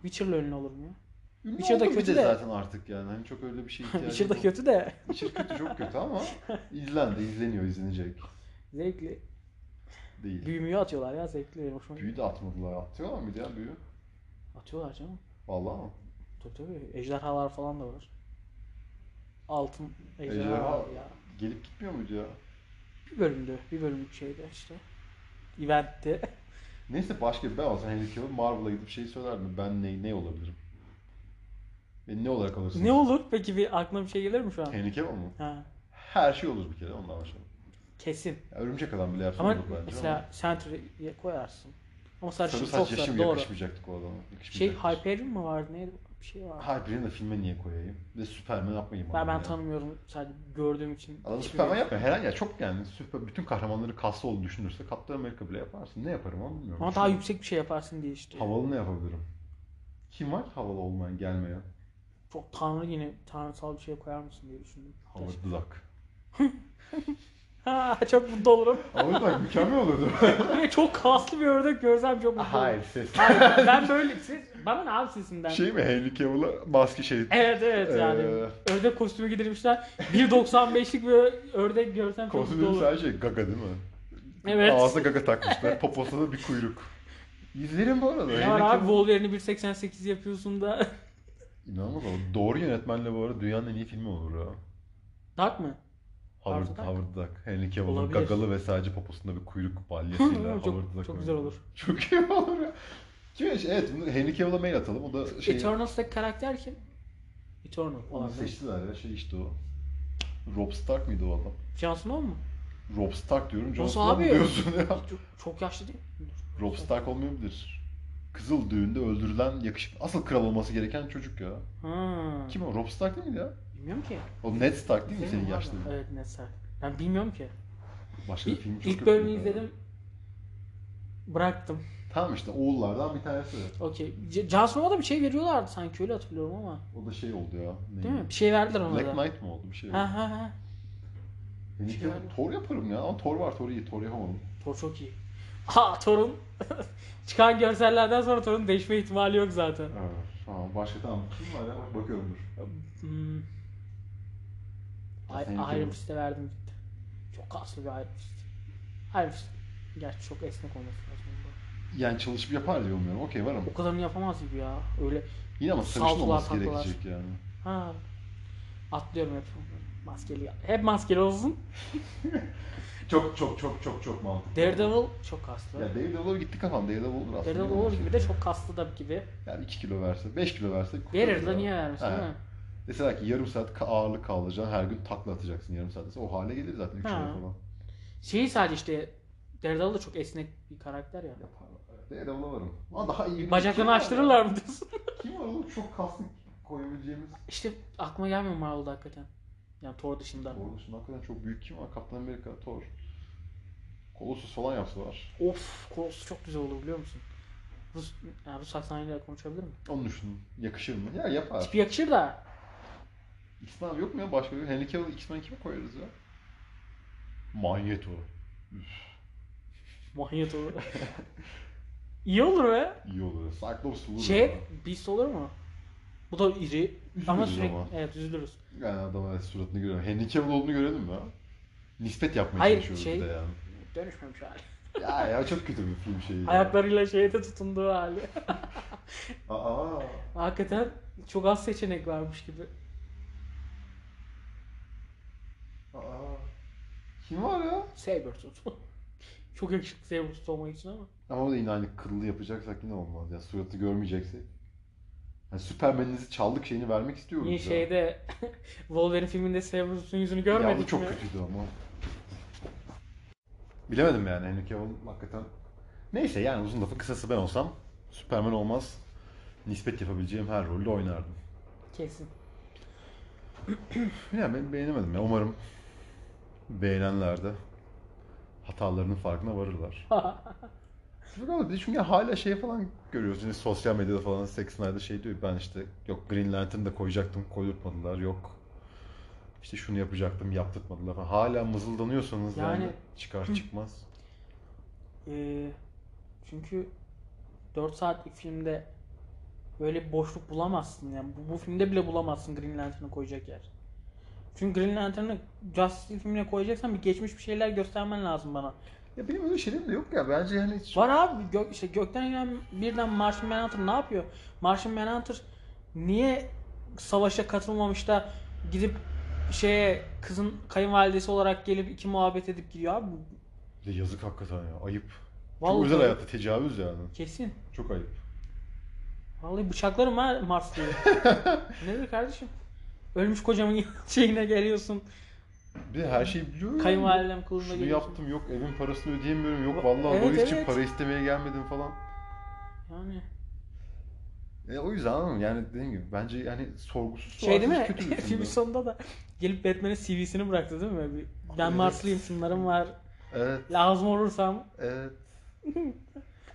Speaker 2: Witcher'la ünlü olurum ya.
Speaker 1: Ünlü
Speaker 2: Witcher da
Speaker 1: oldum bir şey
Speaker 2: kötü
Speaker 1: de
Speaker 2: de.
Speaker 1: zaten artık yani. Hani çok öyle bir
Speaker 2: [laughs]
Speaker 1: şey ihtiyacım
Speaker 2: Witcher da
Speaker 1: yok.
Speaker 2: kötü de
Speaker 1: Witcher kötü çok kötü
Speaker 2: [laughs]
Speaker 1: ama izlendi, izleniyor, izlenecek.
Speaker 2: zevkli.
Speaker 1: Değil.
Speaker 2: Büyümüyor atıyorlar ya zevkli benim hoşuma gidiyor.
Speaker 1: Büyü de atmadılar. Atıyorlar mıydı ya büyü?
Speaker 2: Atıyorlar canım.
Speaker 1: Vallahi mı?
Speaker 2: Tabii tabii. Ejderhalar falan da var. Altın ejderha,
Speaker 1: Ejderha.
Speaker 2: var ya.
Speaker 1: Gelip gitmiyor muydu ya?
Speaker 2: Bir bölümdü. Bir bölümlük şeyde işte. Eventti.
Speaker 1: Neyse başka ben olsam Henry Cavill Marvel'a gidip şey söylerdim. Ben ne, ne olabilirim? Beni ne olarak alırsınız?
Speaker 2: [laughs] ne olur peki bir aklına bir şey gelir mi şu an?
Speaker 1: Henry Cavill mu?
Speaker 2: Ha,
Speaker 1: Her şey olur bir kere ondan başlayalım.
Speaker 2: kesin.
Speaker 1: Ya, örümcek adam bile yapsa
Speaker 2: Ama
Speaker 1: olur bence
Speaker 2: mesela
Speaker 1: ama.
Speaker 2: Sentry'ye koyarsın. Ama sarışın
Speaker 1: Sarı
Speaker 2: çok
Speaker 1: saç
Speaker 2: sarı.
Speaker 1: yaşım
Speaker 2: Doğru.
Speaker 1: yakışmayacaktık o adama.
Speaker 2: Şey
Speaker 1: Yakışmayacaktır.
Speaker 2: Hyperion mu vardı? Neydi? Bir şey vardı.
Speaker 1: Hyper'in de filme niye koyayım? Bir de Superman yapmayayım.
Speaker 2: Ben,
Speaker 1: adamı
Speaker 2: ben
Speaker 1: ya.
Speaker 2: tanımıyorum. Sadece gördüğüm için.
Speaker 1: Adam
Speaker 2: Hiçbir-
Speaker 1: Superman yapmıyor. Her an ya çok yani süper, bütün kahramanları kaslı olduğunu düşünürse Captain America bile yaparsın. Ne yaparım ama bilmiyorum.
Speaker 2: Ama daha yüksek bir şey yaparsın diye işte.
Speaker 1: Havalı ne yapabilirim? Kim var havalı olmayan gelmeyen?
Speaker 2: Çok tanrı yine tanrısal bir şey koyar mısın diye düşündüm.
Speaker 1: Howard Duck.
Speaker 2: Ha çok mutlu olurum.
Speaker 1: Howard Duck mükemmel olurdu.
Speaker 2: Böyle çok kaslı bir ördek görsem çok mutlu olurum.
Speaker 1: [laughs] Hayır ses.
Speaker 2: Hayır. ben böyle siz bana ne abi sesimden?
Speaker 1: şey mi Henry Cavill'a maske şey.
Speaker 2: Evet evet yani.
Speaker 1: Ee.
Speaker 2: Ördek kostümü giydirmişler. 1.95'lik bir ördek görsem çok mutlu
Speaker 1: Kostümün
Speaker 2: olurum.
Speaker 1: sadece şey, gaga değil mi?
Speaker 2: Evet.
Speaker 1: Ağzına gaga takmışlar. Poposuna bir kuyruk. İzlerim bu arada.
Speaker 2: Ne
Speaker 1: Henry
Speaker 2: var abi
Speaker 1: Cavill-
Speaker 2: Wolverine'i 1.88 yapıyorsun da. [laughs]
Speaker 1: İnanılmaz ama doğru yönetmenle bu arada dünyanın en iyi filmi olur ha.
Speaker 2: Dark mı?
Speaker 1: Howard,
Speaker 2: Duck.
Speaker 1: Howard Duck. Henry Cavill'ın
Speaker 2: Olabilir.
Speaker 1: gagalı ve sadece poposunda bir kuyruk balyasıyla
Speaker 2: [laughs] Çok-
Speaker 1: Howard Duck
Speaker 2: çok güzel
Speaker 1: oynuyor.
Speaker 2: olur.
Speaker 1: [laughs] Çok iyi olur ya. Kim bilir, evet bunu Henry Cavill'a mail atalım. O
Speaker 2: E,
Speaker 1: da şey
Speaker 2: Eternals'taki karakter kim? Eternal
Speaker 1: onu
Speaker 2: olan.
Speaker 1: seçtiler ya şey işte o. Rob Stark mıydı o adam?
Speaker 2: Jon Snow mu?
Speaker 1: Rob Stark diyorum. Jon
Speaker 2: Nasıl
Speaker 1: Snow
Speaker 2: abi?
Speaker 1: diyorsun ya. [laughs]
Speaker 2: Çok, çok yaşlı değil mi?
Speaker 1: Rob Stark olmuyor mudur? Kızıl düğünde öldürülen yakışık asıl kral olması gereken çocuk ya.
Speaker 2: Ha.
Speaker 1: Kim o? Rob Stark değil miydi ya?
Speaker 2: Bilmiyorum ki.
Speaker 1: O Ned Stark değil mi
Speaker 2: Senin
Speaker 1: senin
Speaker 2: var mı?
Speaker 1: yaşlı?
Speaker 2: Evet Nesar. Ben bilmiyorum ki.
Speaker 1: Başka bir
Speaker 2: İlk,
Speaker 1: film çok
Speaker 2: ilk
Speaker 1: yok
Speaker 2: bölümü
Speaker 1: çünkü.
Speaker 2: izledim. Bıraktım.
Speaker 1: Tamam işte oğullardan bir tanesi.
Speaker 2: Okey. C- Jon Snow'a da bir şey veriyorlardı sanki öyle hatırlıyorum ama.
Speaker 1: O da şey oldu ya. neydi?
Speaker 2: Değil mi? Bir şey verdiler ona
Speaker 1: Black
Speaker 2: da.
Speaker 1: Knight mı oldu bir şey? oldu.
Speaker 2: Ha ha ha.
Speaker 1: Henry
Speaker 2: Şey
Speaker 1: Cavill-
Speaker 2: var mı?
Speaker 1: Thor yaparım ya. Ama Thor var. Thor iyi. Thor yapamadım.
Speaker 2: Thor çok iyi. [laughs] Ha Thor'un [laughs] çıkan görsellerden sonra Thor'un değişme ihtimali yok zaten.
Speaker 1: Evet. Tamam. Başka tamam. Kim var ya? Bakıyorum dur.
Speaker 2: Hmm.
Speaker 1: Senin
Speaker 2: Ay-
Speaker 1: kim?
Speaker 2: Iron Fist'e verdim gitti. Çok kaslı bir Iron Fist. Iron Fist. Gerçi çok esnek olması lazım.
Speaker 1: Yani çalışıp yapar diye umuyorum. Okey varım.
Speaker 2: O kadarını yapamaz gibi ya. Öyle
Speaker 1: Yine ama sarışın
Speaker 2: Saltılar,
Speaker 1: olması
Speaker 2: taklalar.
Speaker 1: gerekecek yani.
Speaker 2: Ha. Atlıyorum hep. Maskeli. Hep maskeli olsun.
Speaker 1: Çok çok çok çok çok mantıklı.
Speaker 2: Daredevil çok kaslı.
Speaker 1: Ya Daredevil'a gitti kafam. Daredevil olur aslında.
Speaker 2: Daredevil olur gibi de çok kaslı da gibi.
Speaker 1: Yani 2 kilo verse, 5 kilo verse. kurtarır
Speaker 2: Verir
Speaker 1: ya.
Speaker 2: de niye vermesin
Speaker 1: He.
Speaker 2: değil mi?
Speaker 1: Deseler ki yarım saat ka- ağırlık kaldıracaksın, her gün takla atacaksın yarım saat dese o hale gelir zaten 3
Speaker 2: Ha.
Speaker 1: kilo falan.
Speaker 2: Şeyi sadece işte Daredevil de çok esnek bir karakter ya.
Speaker 1: Yaparlar. Daredevil'a varım. Ama daha iyi.
Speaker 2: Bacaklarını açtırırlar mı diyorsun? [laughs]
Speaker 1: Kim var oğlum çok kaslı koyabileceğimiz?
Speaker 2: işte aklıma gelmiyor Marvel'da hakikaten. Yani Thor dışında.
Speaker 1: Thor dışında hakikaten çok büyük kim var? Kaptan Amerika, Thor. Colossus falan yapsalar.
Speaker 2: Of Colossus çok güzel olur biliyor musun? Rus, yani Rus aksanıyla konuşabilir mi?
Speaker 1: Onu düşünün. Yakışır mı? Ya yapar.
Speaker 2: Tipi yakışır da.
Speaker 1: X-Men yok mu ya başka? bir- Henry Cavill X-Men kime koyarız ya? Magneto. [laughs]
Speaker 2: Manyak olur. İyi olur be.
Speaker 1: İyi olur. Cyclops olur.
Speaker 2: Şey
Speaker 1: ya.
Speaker 2: Beast olur mu? Bu da iri. Ama
Speaker 1: Üzülürüz
Speaker 2: sürekli
Speaker 1: ama.
Speaker 2: evet üzülürüz.
Speaker 1: Yani adamın suratını görelim. Henry Cavill olduğunu görelim mi? Nispet yapmaya
Speaker 2: Hayır,
Speaker 1: çalışıyoruz
Speaker 2: şey-
Speaker 1: bir de yani.
Speaker 2: Dönüşmemiş hali.
Speaker 1: Ya ya çok kötü bir film şeyi. ya.
Speaker 2: Ayaklarıyla şeyde tutunduğu hali.
Speaker 1: Aa.
Speaker 2: Hakikaten çok az seçenek varmış gibi.
Speaker 1: Aa. Kim var ya?
Speaker 2: Sabertooth. [laughs] çok yakışıklı Sabertooth olmak için ama.
Speaker 1: Ama o da yine aynı kıllı yapacaksak yine olmaz ya. Suratı görmeyeceksek. Yani Superman'inizi çaldık şeyini vermek istiyoruz
Speaker 2: Niye
Speaker 1: ya.
Speaker 2: şeyde [laughs] Wolverine filminde Sabertooth'un yüzünü
Speaker 1: Ya bu
Speaker 2: görmedik
Speaker 1: çok
Speaker 2: mi?
Speaker 1: kötüydü ama. Bilemedim yani Henry Cavill hakikaten. Neyse yani uzun lafın kısası ben olsam Superman olmaz. Nispet yapabileceğim her rolde oynardım.
Speaker 2: [laughs] Kesin.
Speaker 1: Ya ben beğenemedim ya. Umarım beğenenler de hatalarının farkına varırlar. Yok ama bir de çünkü hala şey falan görüyoruz. Şimdi sosyal medyada falan Zack Snyder şey diyor. Ben işte yok Green Lantern'ı da koyacaktım koydurtmadılar. Yok işte şunu yapacaktım yaptırtmadılar falan. Hala mızıldanıyorsanız yani,
Speaker 2: Yani-
Speaker 1: çıkar çıkmaz.
Speaker 2: Ee, çünkü 4 saatlik filmde böyle bir boşluk bulamazsın yani. Bu, bu filmde bile bulamazsın Green Lantern'ı koyacak yer. Çünkü Green Lantern'ı Justice League filmine koyacaksan bir geçmiş bir şeyler göstermen lazım bana.
Speaker 1: Ya benim öyle şeyim de yok ya. Bence hani hiç...
Speaker 2: Var abi gö- işte gökten gelen birden Martian Manhunter ne yapıyor? Martian Manhunter niye savaşa katılmamış da gidip şeye kızın kayınvalidesi olarak gelip iki muhabbet edip gidiyor abi. Bu-
Speaker 1: Bir de yazık hakikaten ya. Ayıp.
Speaker 2: Vallahi
Speaker 1: Çok özel hayatta tecavüz yani.
Speaker 2: Kesin.
Speaker 1: Çok ayıp.
Speaker 2: Vallahi bıçaklarım ha
Speaker 1: [laughs]
Speaker 2: Mars diye. Nedir kardeşim? Ölmüş kocamın [laughs] şeyine geliyorsun.
Speaker 1: Bir de her şeyi biliyor yani.
Speaker 2: Kayınvalidem kılığına
Speaker 1: Şunu
Speaker 2: geliyorsun.
Speaker 1: yaptım yok evin parasını ödeyemiyorum yok
Speaker 2: Va-
Speaker 1: vallahi
Speaker 2: Evet,
Speaker 1: Lois için
Speaker 2: evet.
Speaker 1: para istemeye gelmedim falan.
Speaker 2: Yani
Speaker 1: E, o yüzden anladın mı? Yani dediğim gibi bence yani sorgusuz
Speaker 2: şey değil mi?
Speaker 1: sualsiz
Speaker 2: [laughs]
Speaker 1: kötü bir
Speaker 2: Filmin
Speaker 1: filmdi.
Speaker 2: sonunda da gelip Batman'in CV'sini bıraktı değil mi? Bir, ben
Speaker 1: Evet.
Speaker 2: Marslıyım şunlarım var.
Speaker 1: Evet,
Speaker 2: Lazım olursam.
Speaker 1: evet.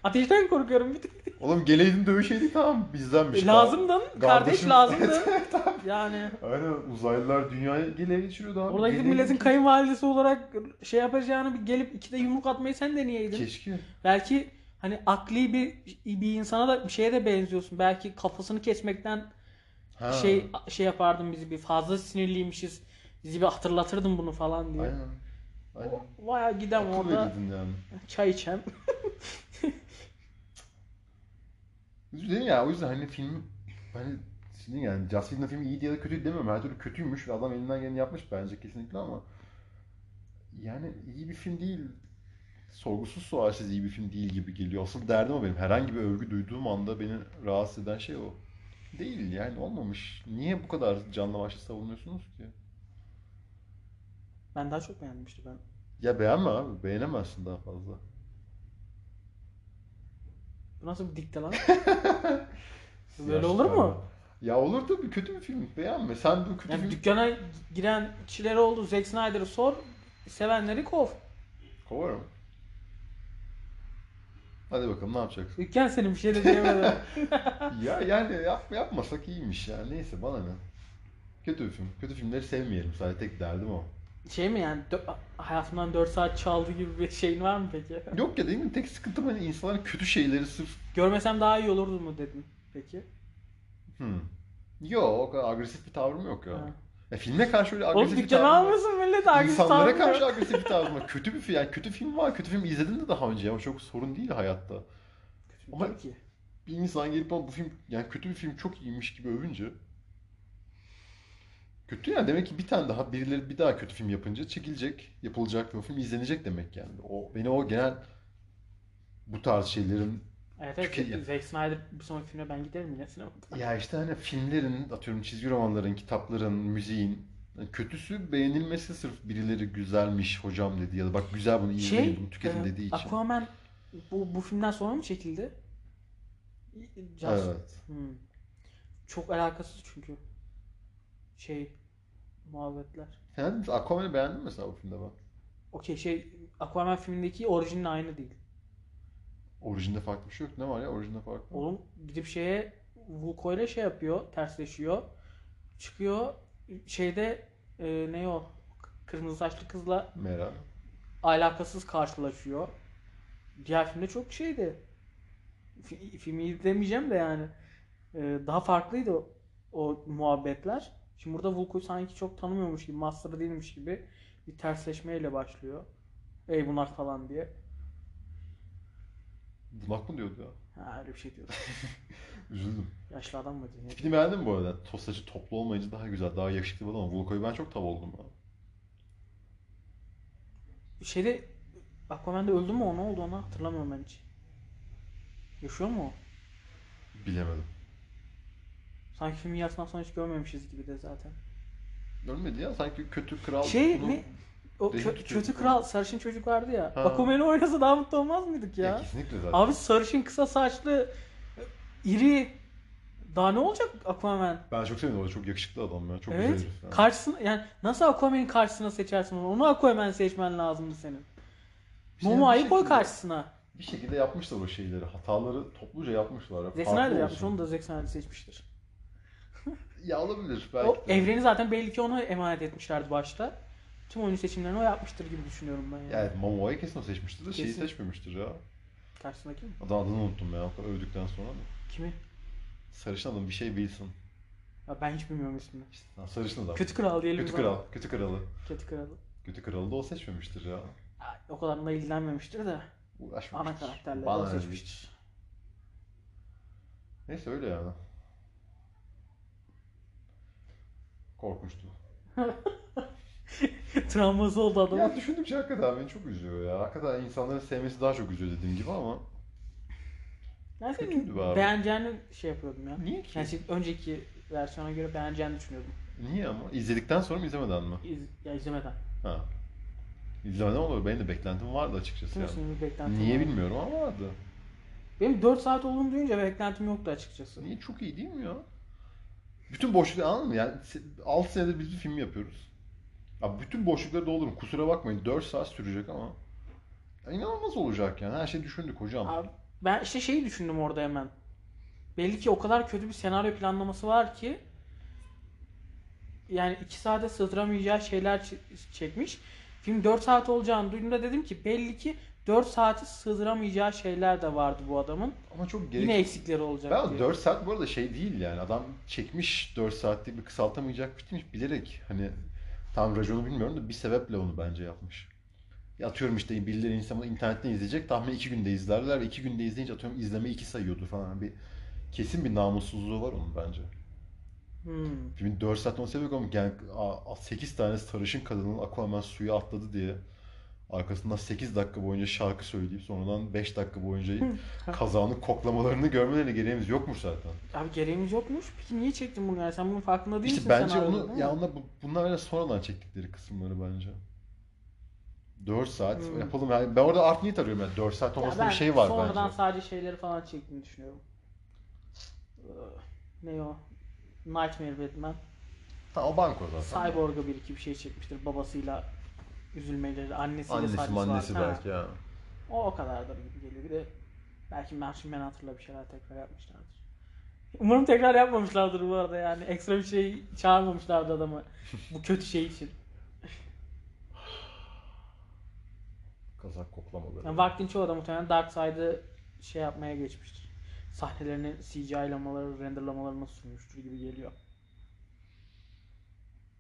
Speaker 2: Ateşten korkuyorum bir tık.
Speaker 1: Oğlum geleydin dövüşeydik tamam
Speaker 2: E,
Speaker 1: bizdenmiş.
Speaker 2: lazımdın. Kardeş
Speaker 1: Kardeşim-
Speaker 2: lazımdın. yani
Speaker 1: Aynen uzaylılar dünyayı ele geçiriyordu abi.
Speaker 2: orada gidip
Speaker 1: Geleydin.
Speaker 2: milletin kayınvalidesi olarak şey yapacağını bir gelip ikide yumruk atmayı sen deneyeydin.
Speaker 1: Keşke.
Speaker 2: Belki hani akli bir bir insana da bir şeye de benziyorsun. Belki kafasını kesmekten
Speaker 1: Ha.
Speaker 2: şey şey yapardın bizi bir fazla sinirliymişiz. Bizi bir hatırlatırdın bunu falan diye.
Speaker 1: Aynen. Aynen.
Speaker 2: Vaya gidem
Speaker 1: Akıl
Speaker 2: orada
Speaker 1: verirdin yani.
Speaker 2: çay içen.
Speaker 1: Üzüldüm ya o yüzden hani film hani senin yani Joss Whedon'ın filmi iyi ya da kötü demem. Her türlü kötüymüş ve adam elinden geleni yapmış bence kesinlikle ama yani iyi bir film değil. Sorgusuz sualsiz iyi bir film değil gibi geliyor. Asıl derdim o benim. Herhangi bir övgü duyduğum anda beni rahatsız eden şey o. Değil yani olmamış. Niye bu kadar canlı başlı savunuyorsunuz ki?
Speaker 2: Ben daha çok beğenmiştim ben.
Speaker 1: Ya beğenme abi. Beğenemezsin daha fazla.
Speaker 2: Bu nasıl bir dikte lan? Böyle
Speaker 1: Yaşlı
Speaker 2: olur
Speaker 1: galiba.
Speaker 2: mu?
Speaker 1: Ya olur tabii. Kötü bir film. Beğenme. Sen bu kötü
Speaker 2: Yani
Speaker 1: film
Speaker 2: dükkana giren kişiler oldu. Zack Snyder'ı sor. Sevenleri kov.
Speaker 1: Kovarım. Hadi bakalım ne yapacaksın?
Speaker 2: Dükkan senin bir şey
Speaker 1: [laughs]
Speaker 2: de diyemedim. Ah.
Speaker 1: ya yani yap, yapmasak iyiymiş ya. Neyse bana ne. Kötü bir film. Kötü filmleri sevmeyelim sadece tek derdim o.
Speaker 2: şey mi yani dö- hayatımdan 4 saat çaldı gibi bir şeyin var mı peki?
Speaker 1: Yok ya dediğim gibi tek sıkıntım hani insanların kötü şeyleri sırf
Speaker 2: Görmesem daha iyi olurdu mu dedin peki?
Speaker 1: hmm. Yo o kadar agresif bir tavrım yok ya.
Speaker 2: Ha.
Speaker 1: Ya filme karşı öyle
Speaker 2: Oğlum
Speaker 1: agresif bir
Speaker 2: dükkanı
Speaker 1: tavrım yok.
Speaker 2: almasın millet agresif
Speaker 1: İnsanlara
Speaker 2: davranıyor.
Speaker 1: karşı agresif bir tavrım var. Kötü bir film. Yani kötü film var. Kötü film izledim de daha önce ama çok sorun değil hayatta.
Speaker 2: Kötü
Speaker 1: Ama-
Speaker 2: değil ki.
Speaker 1: Bir insan gelip bana bu film yani kötü bir film çok iyiymiş gibi övünce kötü yani demek ki bir tane daha birileri bir daha kötü film yapınca çekilecek, yapılacak ve o film izlenecek demek yani. O beni o genel bu tarz şeylerin
Speaker 2: Evet evet
Speaker 1: Çünkü ya-
Speaker 2: Zack Snyder bir sonraki filme ben giderim yine sinemada.
Speaker 1: ya işte hani filmlerin atıyorum çizgi romanların, kitapların, müziğin yani kötüsü beğenilmesi sırf birileri güzelmiş hocam dedi ya da bak güzel bunu izleyin
Speaker 2: Şey,
Speaker 1: bunu tüketin
Speaker 2: e,
Speaker 1: dediği için.
Speaker 2: Aquaman bu, bu filmden sonra mı çekildi? Just-
Speaker 1: Evet.
Speaker 2: Hmm. Çok alakasız çünkü. Şey muhabbetler.
Speaker 1: Beğendin mi? Aquaman'ı beğendin mesela o filmde ben.
Speaker 2: Okey şey Aquaman filmindeki orijinin aynı değil.
Speaker 1: Orijinde farklı bir şey yok. Ne var ya orijinde farklı?
Speaker 2: Oğlum gidip şeye Vulko'yla şey yapıyor, tersleşiyor. Çıkıyor şeyde e, ne o? Kırmızı saçlı kızla
Speaker 1: Meral.
Speaker 2: alakasız karşılaşıyor. Diğer filmde çok şeydi. Fi- filmi izlemeyeceğim de yani. E, daha farklıydı o, o muhabbetler. Şimdi burada Vulko'yu sanki çok tanımıyormuş gibi, master değilmiş gibi bir tersleşmeyle başlıyor. Ey bunlar falan diye.
Speaker 1: Bunak mı diyordu ya?
Speaker 2: Ha öyle bir şey diyordu.
Speaker 1: Üzüldüm.
Speaker 2: Yaşlı adam mı diye.
Speaker 1: Tipini beğendin mi bu arada? Tostacı toplu olmayınca daha güzel, daha yakışıklı bir adam. Vulko'yu ben çok tav oldum ya.
Speaker 2: Şeyde Aquaman'da öldü mü o ne oldu ona hatırlamıyorum ben hiç. Yaşıyor mu o?
Speaker 1: Bilemedim.
Speaker 2: Sanki filmin yarısından sonra hiç görmemişiz gibi de zaten.
Speaker 1: Ölmedi ya. Sanki kötü kral
Speaker 2: Şey
Speaker 1: bunu-
Speaker 2: ne? O
Speaker 1: Değil,
Speaker 2: kö-
Speaker 1: tutuyor.
Speaker 2: kötü kral sarışın çocuk vardı ya.
Speaker 1: Ha.
Speaker 2: Aquaman'ı oynasa daha mutlu olmaz mıydık
Speaker 1: Ya
Speaker 2: ya?
Speaker 1: kesinlikle zaten.
Speaker 2: Abi sarışın kısa saçlı e, iri daha ne olacak Aquaman?
Speaker 1: Ben çok sevdim. O da çok yakışıklı adam ya. Çok
Speaker 2: evet.
Speaker 1: güzel şey. herif. yani.
Speaker 2: Karşısına yani nasıl Aquaman'in karşısına seçersin onu? Onu Aquaman seçmen lazımdı senin.
Speaker 1: İşte
Speaker 2: Momoa'yı
Speaker 1: bir şey
Speaker 2: koy
Speaker 1: şekilde-
Speaker 2: karşısına.
Speaker 1: bir şekilde yapmışlar o şeyleri. Hataları topluca yapmışlar.
Speaker 2: Zack
Speaker 1: Farklı
Speaker 2: Snyder
Speaker 1: olsun.
Speaker 2: yapmış. Onu da Zack Snyder seçmiştir.
Speaker 1: Ya olabilir belki.
Speaker 2: O
Speaker 1: de.
Speaker 2: evreni zaten belli ki ona emanet etmişlerdi başta. Tüm oyuncu seçimlerini o yapmıştır gibi düşünüyorum ben yani.
Speaker 1: Yani Momoa'yı kesin o seçmiştir de şeyi
Speaker 2: Kesin.
Speaker 1: seçmemiştir ya.
Speaker 2: Karşısındaki mi?
Speaker 1: Adam adını unuttum ya. Övdükten sonra da.
Speaker 2: Kimi?
Speaker 1: Sarışın adam bir şey Wilson.
Speaker 2: Ya ben hiç bilmiyorum ismini.
Speaker 1: İşte, ha, sarışın adam.
Speaker 2: Kötü Kral diyelim
Speaker 1: Kötü
Speaker 2: biz ona.
Speaker 1: kral. Kötü kralı.
Speaker 2: Kötü Kralı.
Speaker 1: Kötü kralı da o seçmemiştir ya.
Speaker 2: Ay, O kadar da ilgilenmemiştir de. Ana
Speaker 1: Uğraşmamıştır.
Speaker 2: karakterleri
Speaker 1: Bana
Speaker 2: o
Speaker 1: ne
Speaker 2: seçmiştir.
Speaker 1: Neyse öyle yani. Korkunçtu.
Speaker 2: [laughs] Travması oldu adamın.
Speaker 1: Ya düşündükçe hakikaten beni çok üzüyor ya. Hakikaten insanların sevmesi daha çok üzüyor dediğim gibi ama
Speaker 2: ben
Speaker 1: kötüydü be
Speaker 2: senin
Speaker 1: abi.
Speaker 2: beğeneceğini şey yapıyordum ya.
Speaker 1: niye ki?
Speaker 2: Yani şey- senin önceki versiyona göre beğeneceğini düşünüyordum.
Speaker 1: Niye ama? İzledikten sonra mı izlemeden mi?
Speaker 2: İz, ya izlemeden.
Speaker 1: Ha. İzlemeden olur. Benim de beklentim vardı açıkçası
Speaker 2: Tüm
Speaker 1: yani.
Speaker 2: sınırı beklentim
Speaker 1: Niye
Speaker 2: var.
Speaker 1: bilmiyorum ama vardı.
Speaker 2: Benim 4 saat olduğunu duyunca beklentim yoktu açıkçası.
Speaker 1: Niye çok iyi değil mi ya? Bütün boşlukları anladın mı? Yani 6 senedir biz bir film yapıyoruz. Abi bütün boşlukları doldurun. Kusura bakmayın 4 saat sürecek ama. Ya inanılmaz olacak yani. Her şeyi düşündük hocam.
Speaker 2: Abi, ben işte şeyi düşündüm orada hemen. Belli ki o kadar kötü bir senaryo planlaması var ki yani 2 saate sığdıramayacağı şeyler ç- çekmiş. Film 4 saat olacağını duyduğumda dedim ki belli ki 4 saati sığdıramayacağı şeyler de vardı bu adamın.
Speaker 1: Ama çok
Speaker 2: Yine
Speaker 1: gereksiz.
Speaker 2: eksikleri olacak
Speaker 1: Ben
Speaker 2: diye.
Speaker 1: 4 saat bu arada şey değil yani. Adam çekmiş 4 saatlik bir kısaltamayacak bitirmiş bilerek. Hani tam raconu bilmiyorum da bir sebeple onu bence yapmış. Ya atıyorum işte birileri insanı internetten izleyecek. Tahmin 2 günde izlerler ve 2 günde izleyince atıyorum izleme 2 sayıyordu falan. Hani Bir kesin bir namussuzluğu var onun bence.
Speaker 2: Hmm.
Speaker 1: Filmin 4 saat olması sebebi ama yani 8 tane sarışın kadının Aquaman suya atladı diye arkasından 8 dakika boyunca şarkı söyleyip sonradan 5 dakika boyunca kazanın koklamalarını görmelerine gereğimiz yokmuş zaten.
Speaker 2: Abi gereğimiz yokmuş. Peki niye çektin bunu yani? Sen bunun farkında değil
Speaker 1: İşte
Speaker 2: misin
Speaker 1: bence
Speaker 2: senaryoda,
Speaker 1: onu
Speaker 2: değil mi?
Speaker 1: ya onlar bu- bunlar öyle sonradan çektikleri kısımları bence. 4 saat
Speaker 2: Hmm.
Speaker 1: yapalım yani. Ben orada art niyet arıyorum yani 4 saat
Speaker 2: Ya
Speaker 1: olmasında bir
Speaker 2: ben
Speaker 1: şey var
Speaker 2: sonradan
Speaker 1: bence.
Speaker 2: sadece şeyleri falan çektiğini düşünüyorum. Ee, Ne o? Nightmare Batman.
Speaker 1: Ha, o banko zaten.
Speaker 2: Cyborg'a bir iki bir şey çekmiştir. Babasıyla üzülmeleri, annesiyle
Speaker 1: Annesi
Speaker 2: sahnesi
Speaker 1: annesi
Speaker 2: var. Ha,
Speaker 1: belki ya.
Speaker 2: O o kadardır gibi geliyor. Bir de belki Martian Manhunter'la bir şeyler tekrar yapmışlardır. Umarım tekrar yapmamışlardır bu arada yani. Ekstra bir şey çağırmamışlardı adamı. bu kötü şey için.
Speaker 1: Kazak koklamaları.
Speaker 2: Yani vaktin çoğu da muhtemelen Darkseid'ı şey yapmaya geçmiştir. Sahnelerini CGI'lamaları, renderlamalarına sunmuştur gibi geliyor.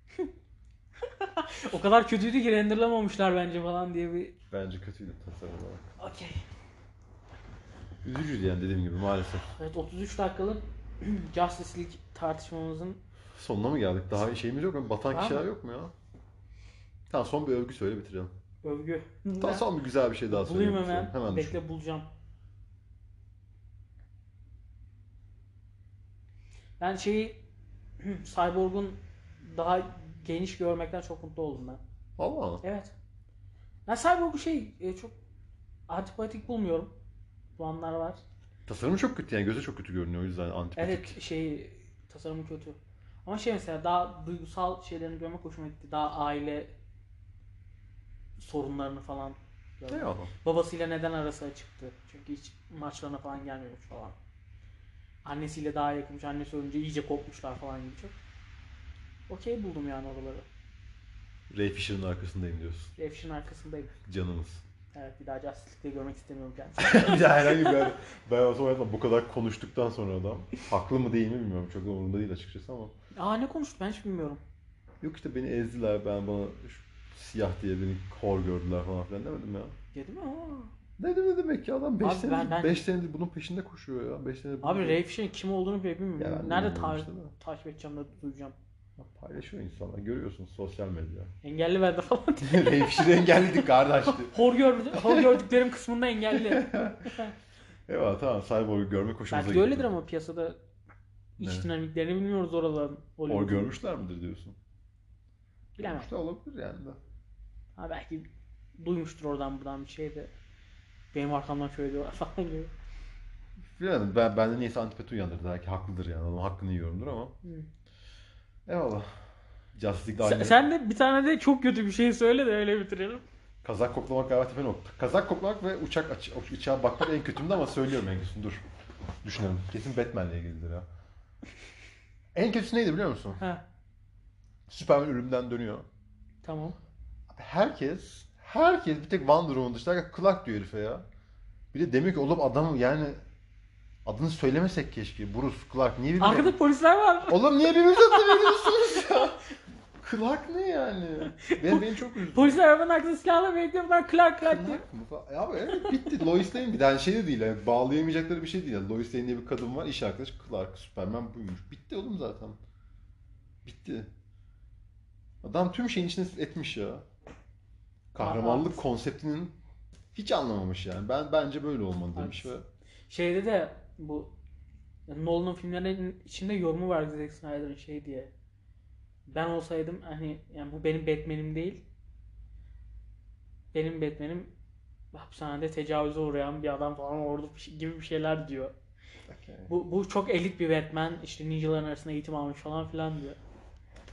Speaker 2: [laughs] o kadar kötüydü ki renderlamamışlar bence falan diye bir...
Speaker 1: Bence kötüydü tasarım olarak.
Speaker 2: Okey.
Speaker 1: Üzücüydü yani dediğim gibi maalesef.
Speaker 2: Evet 33 dakikalık [clears throat] Justice League tartışmamızın
Speaker 1: Sonuna mı geldik? Daha şeyimiz yok mu? Batan
Speaker 2: Var
Speaker 1: kişiler
Speaker 2: mı?
Speaker 1: yok mu ya? Tamam son bir övgü söyle bitirelim.
Speaker 2: övgü.
Speaker 1: Tamam son bir güzel bir şey daha söyle.
Speaker 2: Bulayım
Speaker 1: bitirelim.
Speaker 2: hemen.
Speaker 1: Hemen düşün.
Speaker 2: Bekle bulacağım. Ben şeyi [clears throat] Cyborg'un daha geniş görmekten çok mutlu oldum ben.
Speaker 1: Valla.
Speaker 2: Evet. Ben Cyborg'u şey e, çok antipatik bulmuyorum. Bulanlar var.
Speaker 1: Tasarımı çok kötü yani göze çok kötü görünüyor o yüzden antipatik.
Speaker 2: Evet şey tasarımı kötü. Ama şey mesela daha duygusal şeylerini görmek hoşuma gitti. Daha aile sorunlarını falan. görmek.
Speaker 1: Eyvallah.
Speaker 2: Babasıyla neden arası çıktı? Çünkü hiç maçlarına falan gelmiyormuş falan. Annesiyle daha yakınmış. Annesi ölünce iyice kopmuşlar falan gibi çok. Okey buldum yani oraları.
Speaker 1: Ray Fisher'ın arkasındayım diyorsun.
Speaker 2: Refşin arkasındayım.
Speaker 1: Canımız.
Speaker 2: Evet bir daha Justice League'de görmek istemiyorum
Speaker 1: [laughs]
Speaker 2: kendisini.
Speaker 1: bir daha herhangi bir ben, ben o zaman bu kadar konuştuktan sonra adam haklı mı değil mi bilmiyorum. Çok da umurumda değil açıkçası ama.
Speaker 2: Aa ne konuştu ben hiç bilmiyorum.
Speaker 1: Yok işte beni ezdiler ben bana şu siyah diye beni hor gördüler falan filan demedim ya.
Speaker 2: Dedim mi? Aa.
Speaker 1: Ne demek, ne demek ya adam 5
Speaker 2: Abi ben-
Speaker 1: senedir,
Speaker 2: ben-
Speaker 1: beş senedir bunun peşinde koşuyor ya. 5 senedir bunun-
Speaker 2: Abi Refşin kim olduğunu bile
Speaker 1: Ya ben de
Speaker 2: bilmiyorum. Nerede
Speaker 1: bilmiyorum
Speaker 2: ta-
Speaker 1: işte de.
Speaker 2: takip edeceğim de duyacağım.
Speaker 1: Ya Paylaşıyor insanlar. Görüyorsunuz sosyal medya. [laughs]
Speaker 2: Engelli verdi falan diye.
Speaker 1: Revşir'i engelledik kardeş.
Speaker 2: [laughs] Hor, gör, hor gördüklerim kısmında engelli.
Speaker 1: Eyvallah tamam Cyborg'u görmek hoşumuza
Speaker 2: Belki de öyledir ama piyasada iç
Speaker 1: Evet.
Speaker 2: dinamiklerini bilmiyoruz oraların.
Speaker 1: Or görmüşler midir diyorsun?
Speaker 2: Bilemem.
Speaker 1: Görmüşler olabilir yani de.
Speaker 2: Ha belki duymuştur oradan buradan bir şey de. Benim arkamdan şöyle diyorlar [laughs] falan gibi.
Speaker 1: Bilemedim. Ben, bende niyeyse antipati uyandırdı. Belki haklıdır yani. Onun hakkını yiyorumdur ama.
Speaker 2: Hı.
Speaker 1: Eyvallah. Justice League'de
Speaker 2: Sen,
Speaker 1: aynı.
Speaker 2: sen de bir tane de çok kötü bir şey söyle de öyle bitirelim.
Speaker 1: Kazak koklamak galiba tepe nokta. Kazak koklamak ve uçak aç, uçağa bakmak en kötümdü ama söylüyorum en kötüsünü dur. Düşünelim. Kesin Batman'le ilgilidir ya. En kötüsü neydi biliyor musun?
Speaker 2: Ha,
Speaker 1: Superman ölümden dönüyor.
Speaker 2: tamam.
Speaker 1: Abi herkes, herkes bir tek Wonder Woman dışında Clark diyor herife ya. Bir de demiyor ki oğlum adam yani adını söylemesek keşke. Bruce, Clark niye birbirine...
Speaker 2: Arkada polisler var.
Speaker 1: Oğlum niye birbirinize adını veriyorsunuz ya? [laughs] Clark ne yani? Ben, beni çok üzdü.
Speaker 2: Polisler arabanın arkasında silahla bekliyor. Bunlar Clark Clark diyor.
Speaker 1: Clark mı? falan? Ya abi evet bitti. [laughs] Lois Lane bir tane şey de değil. Yani bağlayamayacakları bir şey değil. Yani Lois Lane diye bir kadın var. iş arkadaşı Clark. Superman buymuş. Bitti oğlum zaten. Bitti. Adam tüm şeyin içine etmiş ya. Kahramanlık
Speaker 2: Haklısın.
Speaker 1: konseptinin hiç anlamamış yani. Ben bence böyle olmalı demiş ve
Speaker 2: Haklısın. Şeyde de bu Nolan'ın filmlerinin içinde yorumu var Zack Snyder'ın şey diye. Ben olsaydım hani yani bu benim Batman'im değil. Benim Batman'im hapishanede tecavüze uğrayan bir adam falan orada bir şey- gibi bir şeyler diyor.
Speaker 1: Okey.
Speaker 2: Bu, bu çok elit bir Batman işte ninjaların arasında eğitim almış falan filan diyor.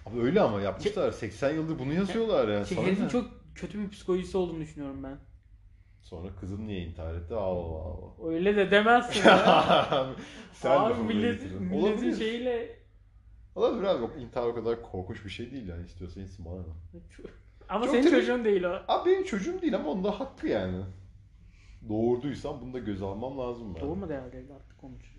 Speaker 1: Abi öyle ama yapmışlar. 80 yıldır bunu yazıyorlar yani.
Speaker 2: Şey,
Speaker 1: Sana
Speaker 2: herifin
Speaker 1: ne?
Speaker 2: çok kötü bir psikolojisi olduğunu düşünüyorum ben.
Speaker 1: Sonra kızım niye intihar etti? Allah Allah.
Speaker 2: Öyle de
Speaker 1: [laughs]
Speaker 2: demezsin ya. [laughs]
Speaker 1: Sen de
Speaker 2: Abi
Speaker 1: bunu
Speaker 2: millet,
Speaker 1: getirin.
Speaker 2: milletin
Speaker 1: Olabilir.
Speaker 2: şeyiyle
Speaker 1: Olabilir abi. Yok, intihar o kadar korkunç bir şey değil yani. İstiyorsan insin bana ne.
Speaker 2: ama
Speaker 1: Çok
Speaker 2: senin
Speaker 1: trajik.
Speaker 2: çocuğun değil o.
Speaker 1: Abi benim çocuğum değil ama onda hakkı yani. Doğurduysam bunu da göz almam lazım ben.
Speaker 2: Doğurmadı herhalde evde artık konuşuyor.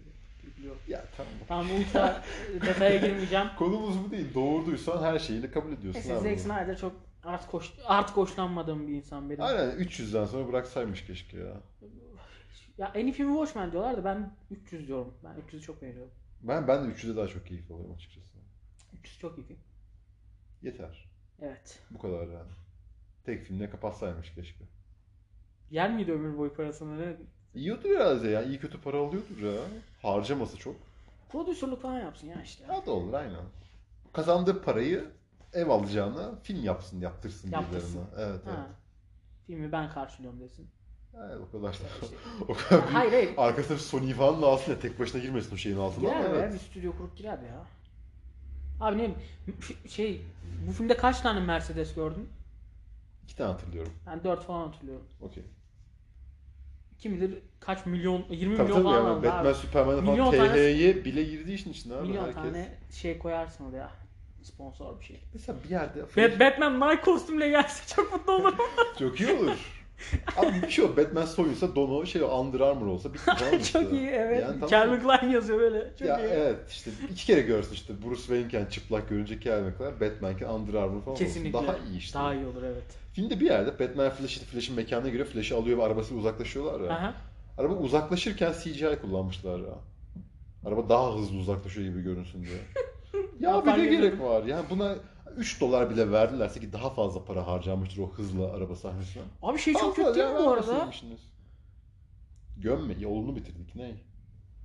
Speaker 2: Biliyorum.
Speaker 1: Ya tamam.
Speaker 2: Tamam bu ultra detaya
Speaker 1: [laughs]
Speaker 2: girmeyeceğim.
Speaker 1: Konumuz bu değil. Doğurduysan her şeyini kabul ediyorsun
Speaker 2: Neyse
Speaker 1: abi.
Speaker 2: Zack Snyder çok artık hoş, artık hoşlanmadığım bir insan benim.
Speaker 1: Aynen 300'den sonra bıraksaymış keşke ya.
Speaker 2: Ya en iyi filmi Watchmen diyorlar da ben 300 diyorum. Ben 300'ü çok beğeniyorum.
Speaker 1: Ben ben de 300'e daha çok keyif alıyorum açıkçası.
Speaker 2: 300 çok iyi film.
Speaker 1: Yeter.
Speaker 2: Evet.
Speaker 1: Bu kadar yani. Tek filmle kapatsaymış keşke.
Speaker 2: Yer miydi ömür boyu parasını? Ne?
Speaker 1: Yiyordur herhalde ya. İyi kötü para alıyordur ya. Harcaması çok.
Speaker 2: Prodüsörlük falan yapsın ya işte.
Speaker 1: Ya da olur aynen. Kazandığı parayı ev alacağına film yapsın, yaptırsın,
Speaker 2: Yaptırsın.
Speaker 1: birilerine. Evet, evet.
Speaker 2: Ha. Filmi ben karşılıyorum desin.
Speaker 1: Evet, o kadar.
Speaker 2: İşte,
Speaker 1: [laughs] o kadar büyük
Speaker 2: hayır hayır.
Speaker 1: Arkasında bir Sony falan da alsın da tek başına girmesin o şeyin altına.
Speaker 2: Girer
Speaker 1: ama
Speaker 2: be,
Speaker 1: evet.
Speaker 2: bir stüdyo kurup girer ya. Abi ne f- şey bu filmde kaç tane Mercedes gördün?
Speaker 1: İki tane hatırlıyorum.
Speaker 2: Ben 4 falan hatırlıyorum.
Speaker 1: Okey.
Speaker 2: Kim bilir kaç milyon 20
Speaker 1: Tabii
Speaker 2: milyon
Speaker 1: tabii
Speaker 2: falan
Speaker 1: yani
Speaker 2: aldı
Speaker 1: Batman,
Speaker 2: abi.
Speaker 1: Superman
Speaker 2: Milyon
Speaker 1: falan
Speaker 2: tane-
Speaker 1: TH'ye bile girdi işin içine abi.
Speaker 2: Milyon
Speaker 1: herkes.
Speaker 2: tane şey koyarsın oraya. Sponsor bir şey.
Speaker 1: Mesela bir yerde
Speaker 2: Bat- Batman Nike kostümle gelse çok mutlu olurum.
Speaker 1: çok iyi
Speaker 2: [laughs]
Speaker 1: olur. Abi bir şey o Batman soyunsa dono şey Under Armour
Speaker 2: [laughs]
Speaker 1: olsa bitti falan işte.
Speaker 2: çok iyi evet.
Speaker 1: Yani tamam.
Speaker 2: Calvin Klein yazıyor böyle. Çok
Speaker 1: ya
Speaker 2: iyi.
Speaker 1: evet işte iki kere görsün işte Bruce Wayne'ken çıplak görünce Calvin Klein, Batman'ken Under Armour falan
Speaker 2: Kesinlikle.
Speaker 1: olsun. Daha iyi işte.
Speaker 2: Daha iyi olur evet.
Speaker 1: Filmde bir yerde Batman Flash'in Flash'in mekanına giriyor, Flash'ı alıyor ve arabasıyla uzaklaşıyorlar ya.
Speaker 2: Aha.
Speaker 1: Araba uzaklaşırken CGI kullanmışlar ya. Araba daha hızlı uzaklaşıyor gibi görünsün
Speaker 2: [laughs]
Speaker 1: diye. ya bir
Speaker 2: Haber
Speaker 1: de gerek
Speaker 2: görüyorum.
Speaker 1: var. Yani buna 3 dolar bile verdilerse ki daha fazla para harcanmıştır o hızla araba sahnesine.
Speaker 2: Abi şey çok
Speaker 1: Fazla
Speaker 2: kötü değil
Speaker 1: ya,
Speaker 2: mi bu arada?
Speaker 1: vermeseymişsiniz. Gömme. Ya olunu bitirdik. Ne?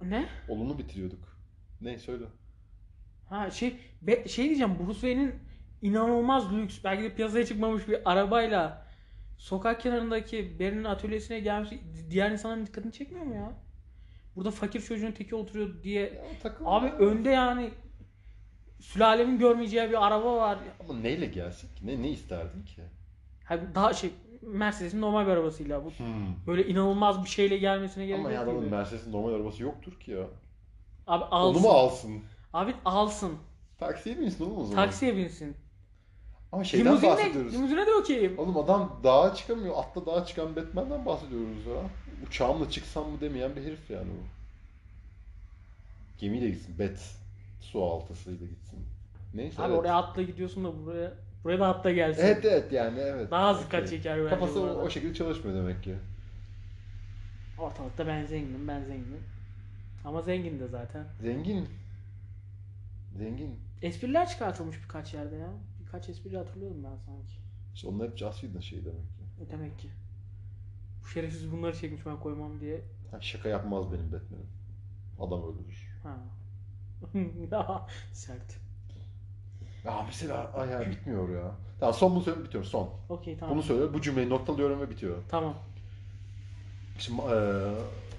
Speaker 2: Ne?
Speaker 1: Olunu bitiriyorduk. Ne söyle.
Speaker 2: Ha şey be- şey diyeceğim Bruce Wayne'in inanılmaz lüks belki de piyasaya çıkmamış bir arabayla sokak kenarındaki birinin atölyesine gelmiş diğer insanların dikkatini çekmiyor mu ya? Burada fakir çocuğun teki oturuyor diye.
Speaker 1: Ya takıl.
Speaker 2: Abi önde yani sülalemin görmeyeceği bir araba var.
Speaker 1: Ama neyle gelsin ki? Ne, ne isterdin ki?
Speaker 2: Hani daha şey Mercedes'in normal bir arabasıyla bu böyle inanılmaz bir şeyle gelmesine gerek
Speaker 1: Ama ya
Speaker 2: yok
Speaker 1: adamın
Speaker 2: gibi.
Speaker 1: Mercedes'in normal arabası yoktur ki ya.
Speaker 2: Abi
Speaker 1: Onu
Speaker 2: alsın.
Speaker 1: mu alsın?
Speaker 2: Abi alsın.
Speaker 1: Taksiye binsin oğlum o zaman.
Speaker 2: Taksiye binsin.
Speaker 1: Ama şeyden
Speaker 2: Limuzinle,
Speaker 1: bahsediyoruz.
Speaker 2: limuzine de okeyim.
Speaker 1: Oğlum adam dağa çıkamıyor. Atla dağa çıkan Batman'den bahsediyoruz ya. Uçağımla çıksam mı demeyen bir herif yani bu. Gemiyle gitsin. Bat. Su altısıyla gitsin. Neyse
Speaker 2: Abi
Speaker 1: evet.
Speaker 2: oraya atla gidiyorsun da buraya buraya da atla gelsin.
Speaker 1: Evet evet yani evet.
Speaker 2: Daha az dikkat
Speaker 1: Okey.
Speaker 2: çeker bence
Speaker 1: Kafası
Speaker 2: bu
Speaker 1: o,
Speaker 2: arada.
Speaker 1: o şey- şekilde çalışmıyor demek ki.
Speaker 2: Ortalıkta ben zenginim, ben zenginim. Ama zengin de zaten.
Speaker 1: Zengin. Zengin.
Speaker 2: Espriler çıkartılmış birkaç yerde ya. Birkaç espri hatırlıyorum ben sanki.
Speaker 1: İşte onlar hep Joss Whedon şeyi demek ki.
Speaker 2: E demek ki. Bu şerefsiz bunları çekmiş ben koymam diye.
Speaker 1: Ha, şaka yapmaz benim Batman'im. Adam öldürür.
Speaker 2: Ha. [laughs] Daha Sert.
Speaker 1: Ya mesela ay ya bitmiyor ya. Tamam son bunu söylüyorum bitiyorum son.
Speaker 2: Okey tamam.
Speaker 1: Bunu söylüyorum bu cümleyi noktalıyorum ve bitiyor.
Speaker 2: Tamam.
Speaker 1: Şimdi eee,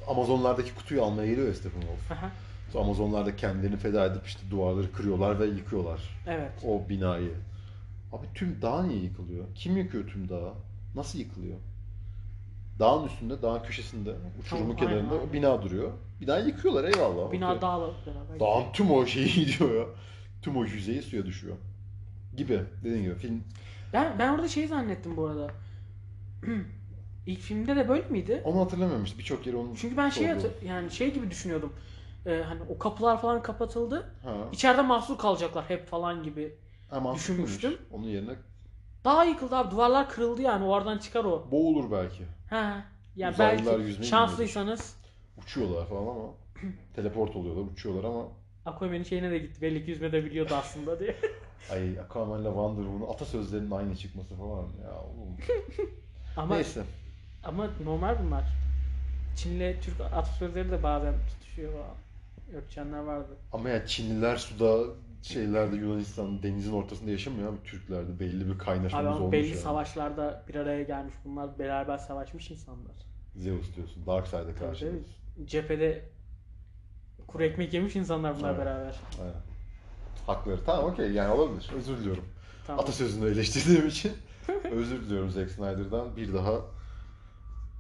Speaker 1: Amazonlardaki kutuyu almaya geliyor ya Stephen Wolf.
Speaker 2: Aha.
Speaker 1: Sonra Amazonlarda kendilerini feda edip işte duvarları kırıyorlar ve yıkıyorlar
Speaker 2: Evet.
Speaker 1: o binayı. Abi tüm dağ niye yıkılıyor? Kim yıkıyor tüm dağı? Nasıl yıkılıyor? Dağın üstünde, dağın köşesinde, uçurumun
Speaker 2: Tamam,
Speaker 1: kenarında
Speaker 2: aynen, aynen.
Speaker 1: bina duruyor. Binayı yıkıyorlar eyvallah.
Speaker 2: Bina
Speaker 1: okey.
Speaker 2: dağla beraber.
Speaker 1: Dağın tüm o şeyi [laughs] gidiyor ya. Tüm o yüzeyi suya düşüyor. Gibi. Dediğin gibi film
Speaker 2: Ben, ben orada şey zannettim bu arada. [clears throat] İlk filmde de böyle miydi?
Speaker 1: onu hatırlamıyorum işte. Birçok yeri onu
Speaker 2: Çünkü ben şey
Speaker 1: sorguladım.
Speaker 2: hatır- yani şey gibi düşünüyordum. Ee, hani o kapılar falan kapatıldı.
Speaker 1: Ha.
Speaker 2: İçeride mahsur kalacaklar hep falan gibi.
Speaker 1: Ha, mantıklıymış.
Speaker 2: düşünmüştüm.
Speaker 1: Onun yerine
Speaker 2: Daha yıkıldı abi. Duvarlar kırıldı yani. Oradan çıkar o.
Speaker 1: boğulur belki.
Speaker 2: Ha. Ya
Speaker 1: Uzaylılar
Speaker 2: belki
Speaker 1: yüzmeyi
Speaker 2: şanslıysanız
Speaker 1: Uçuyorlar falan ama [clears throat] teleport oluyorlar, uçuyorlar ama
Speaker 2: Aquaman'in şeyine de gitti. Belli ki yüzme de biliyordu
Speaker 1: [laughs]
Speaker 2: aslında diye.
Speaker 1: ay Aquaman'la Wonder Woman'ın atasözlerinin aynı çıkması falan ya oğlum.
Speaker 2: ama
Speaker 1: Neyse.
Speaker 2: ama normal bunlar. Çin'le Türk atasözleri de bazen tutuşuyor falan. Örtüşenler vardı.
Speaker 1: Ama ya Çinliler suda şeylerde Yunanistan denizin ortasında yaşamıyor abi Türklerde belli bir
Speaker 2: Abi
Speaker 1: kaynaşmamız
Speaker 2: ama
Speaker 1: olmuş
Speaker 2: belli
Speaker 1: yani.
Speaker 2: savaşlarda bir araya gelmiş bunlar. Beraber savaşmış insanlar.
Speaker 1: Zeus diyorsun, Darkseid'e karşı
Speaker 2: tabii.
Speaker 1: diyorsun.
Speaker 2: Cephede kuru ekmek yemiş insanlar bunlar
Speaker 1: Evet.
Speaker 2: beraber.
Speaker 1: Aynen. Hakları. Tamam okey yani olabilir. Özür diliyorum.
Speaker 2: Tamam.
Speaker 1: Atasözünü eleştirdiğim için [laughs] özür diliyorum Zack Snyder'dan. Bir daha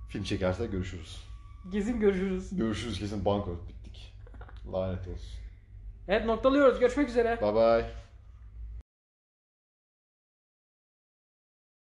Speaker 1: film çekerse görüşürüz.
Speaker 2: Gezin görüşürüz.
Speaker 1: Görüşürüz kesin bankot bittik. Lanet olsun.
Speaker 2: Evet noktalıyoruz. Görüşmek üzere.
Speaker 1: Bye bye.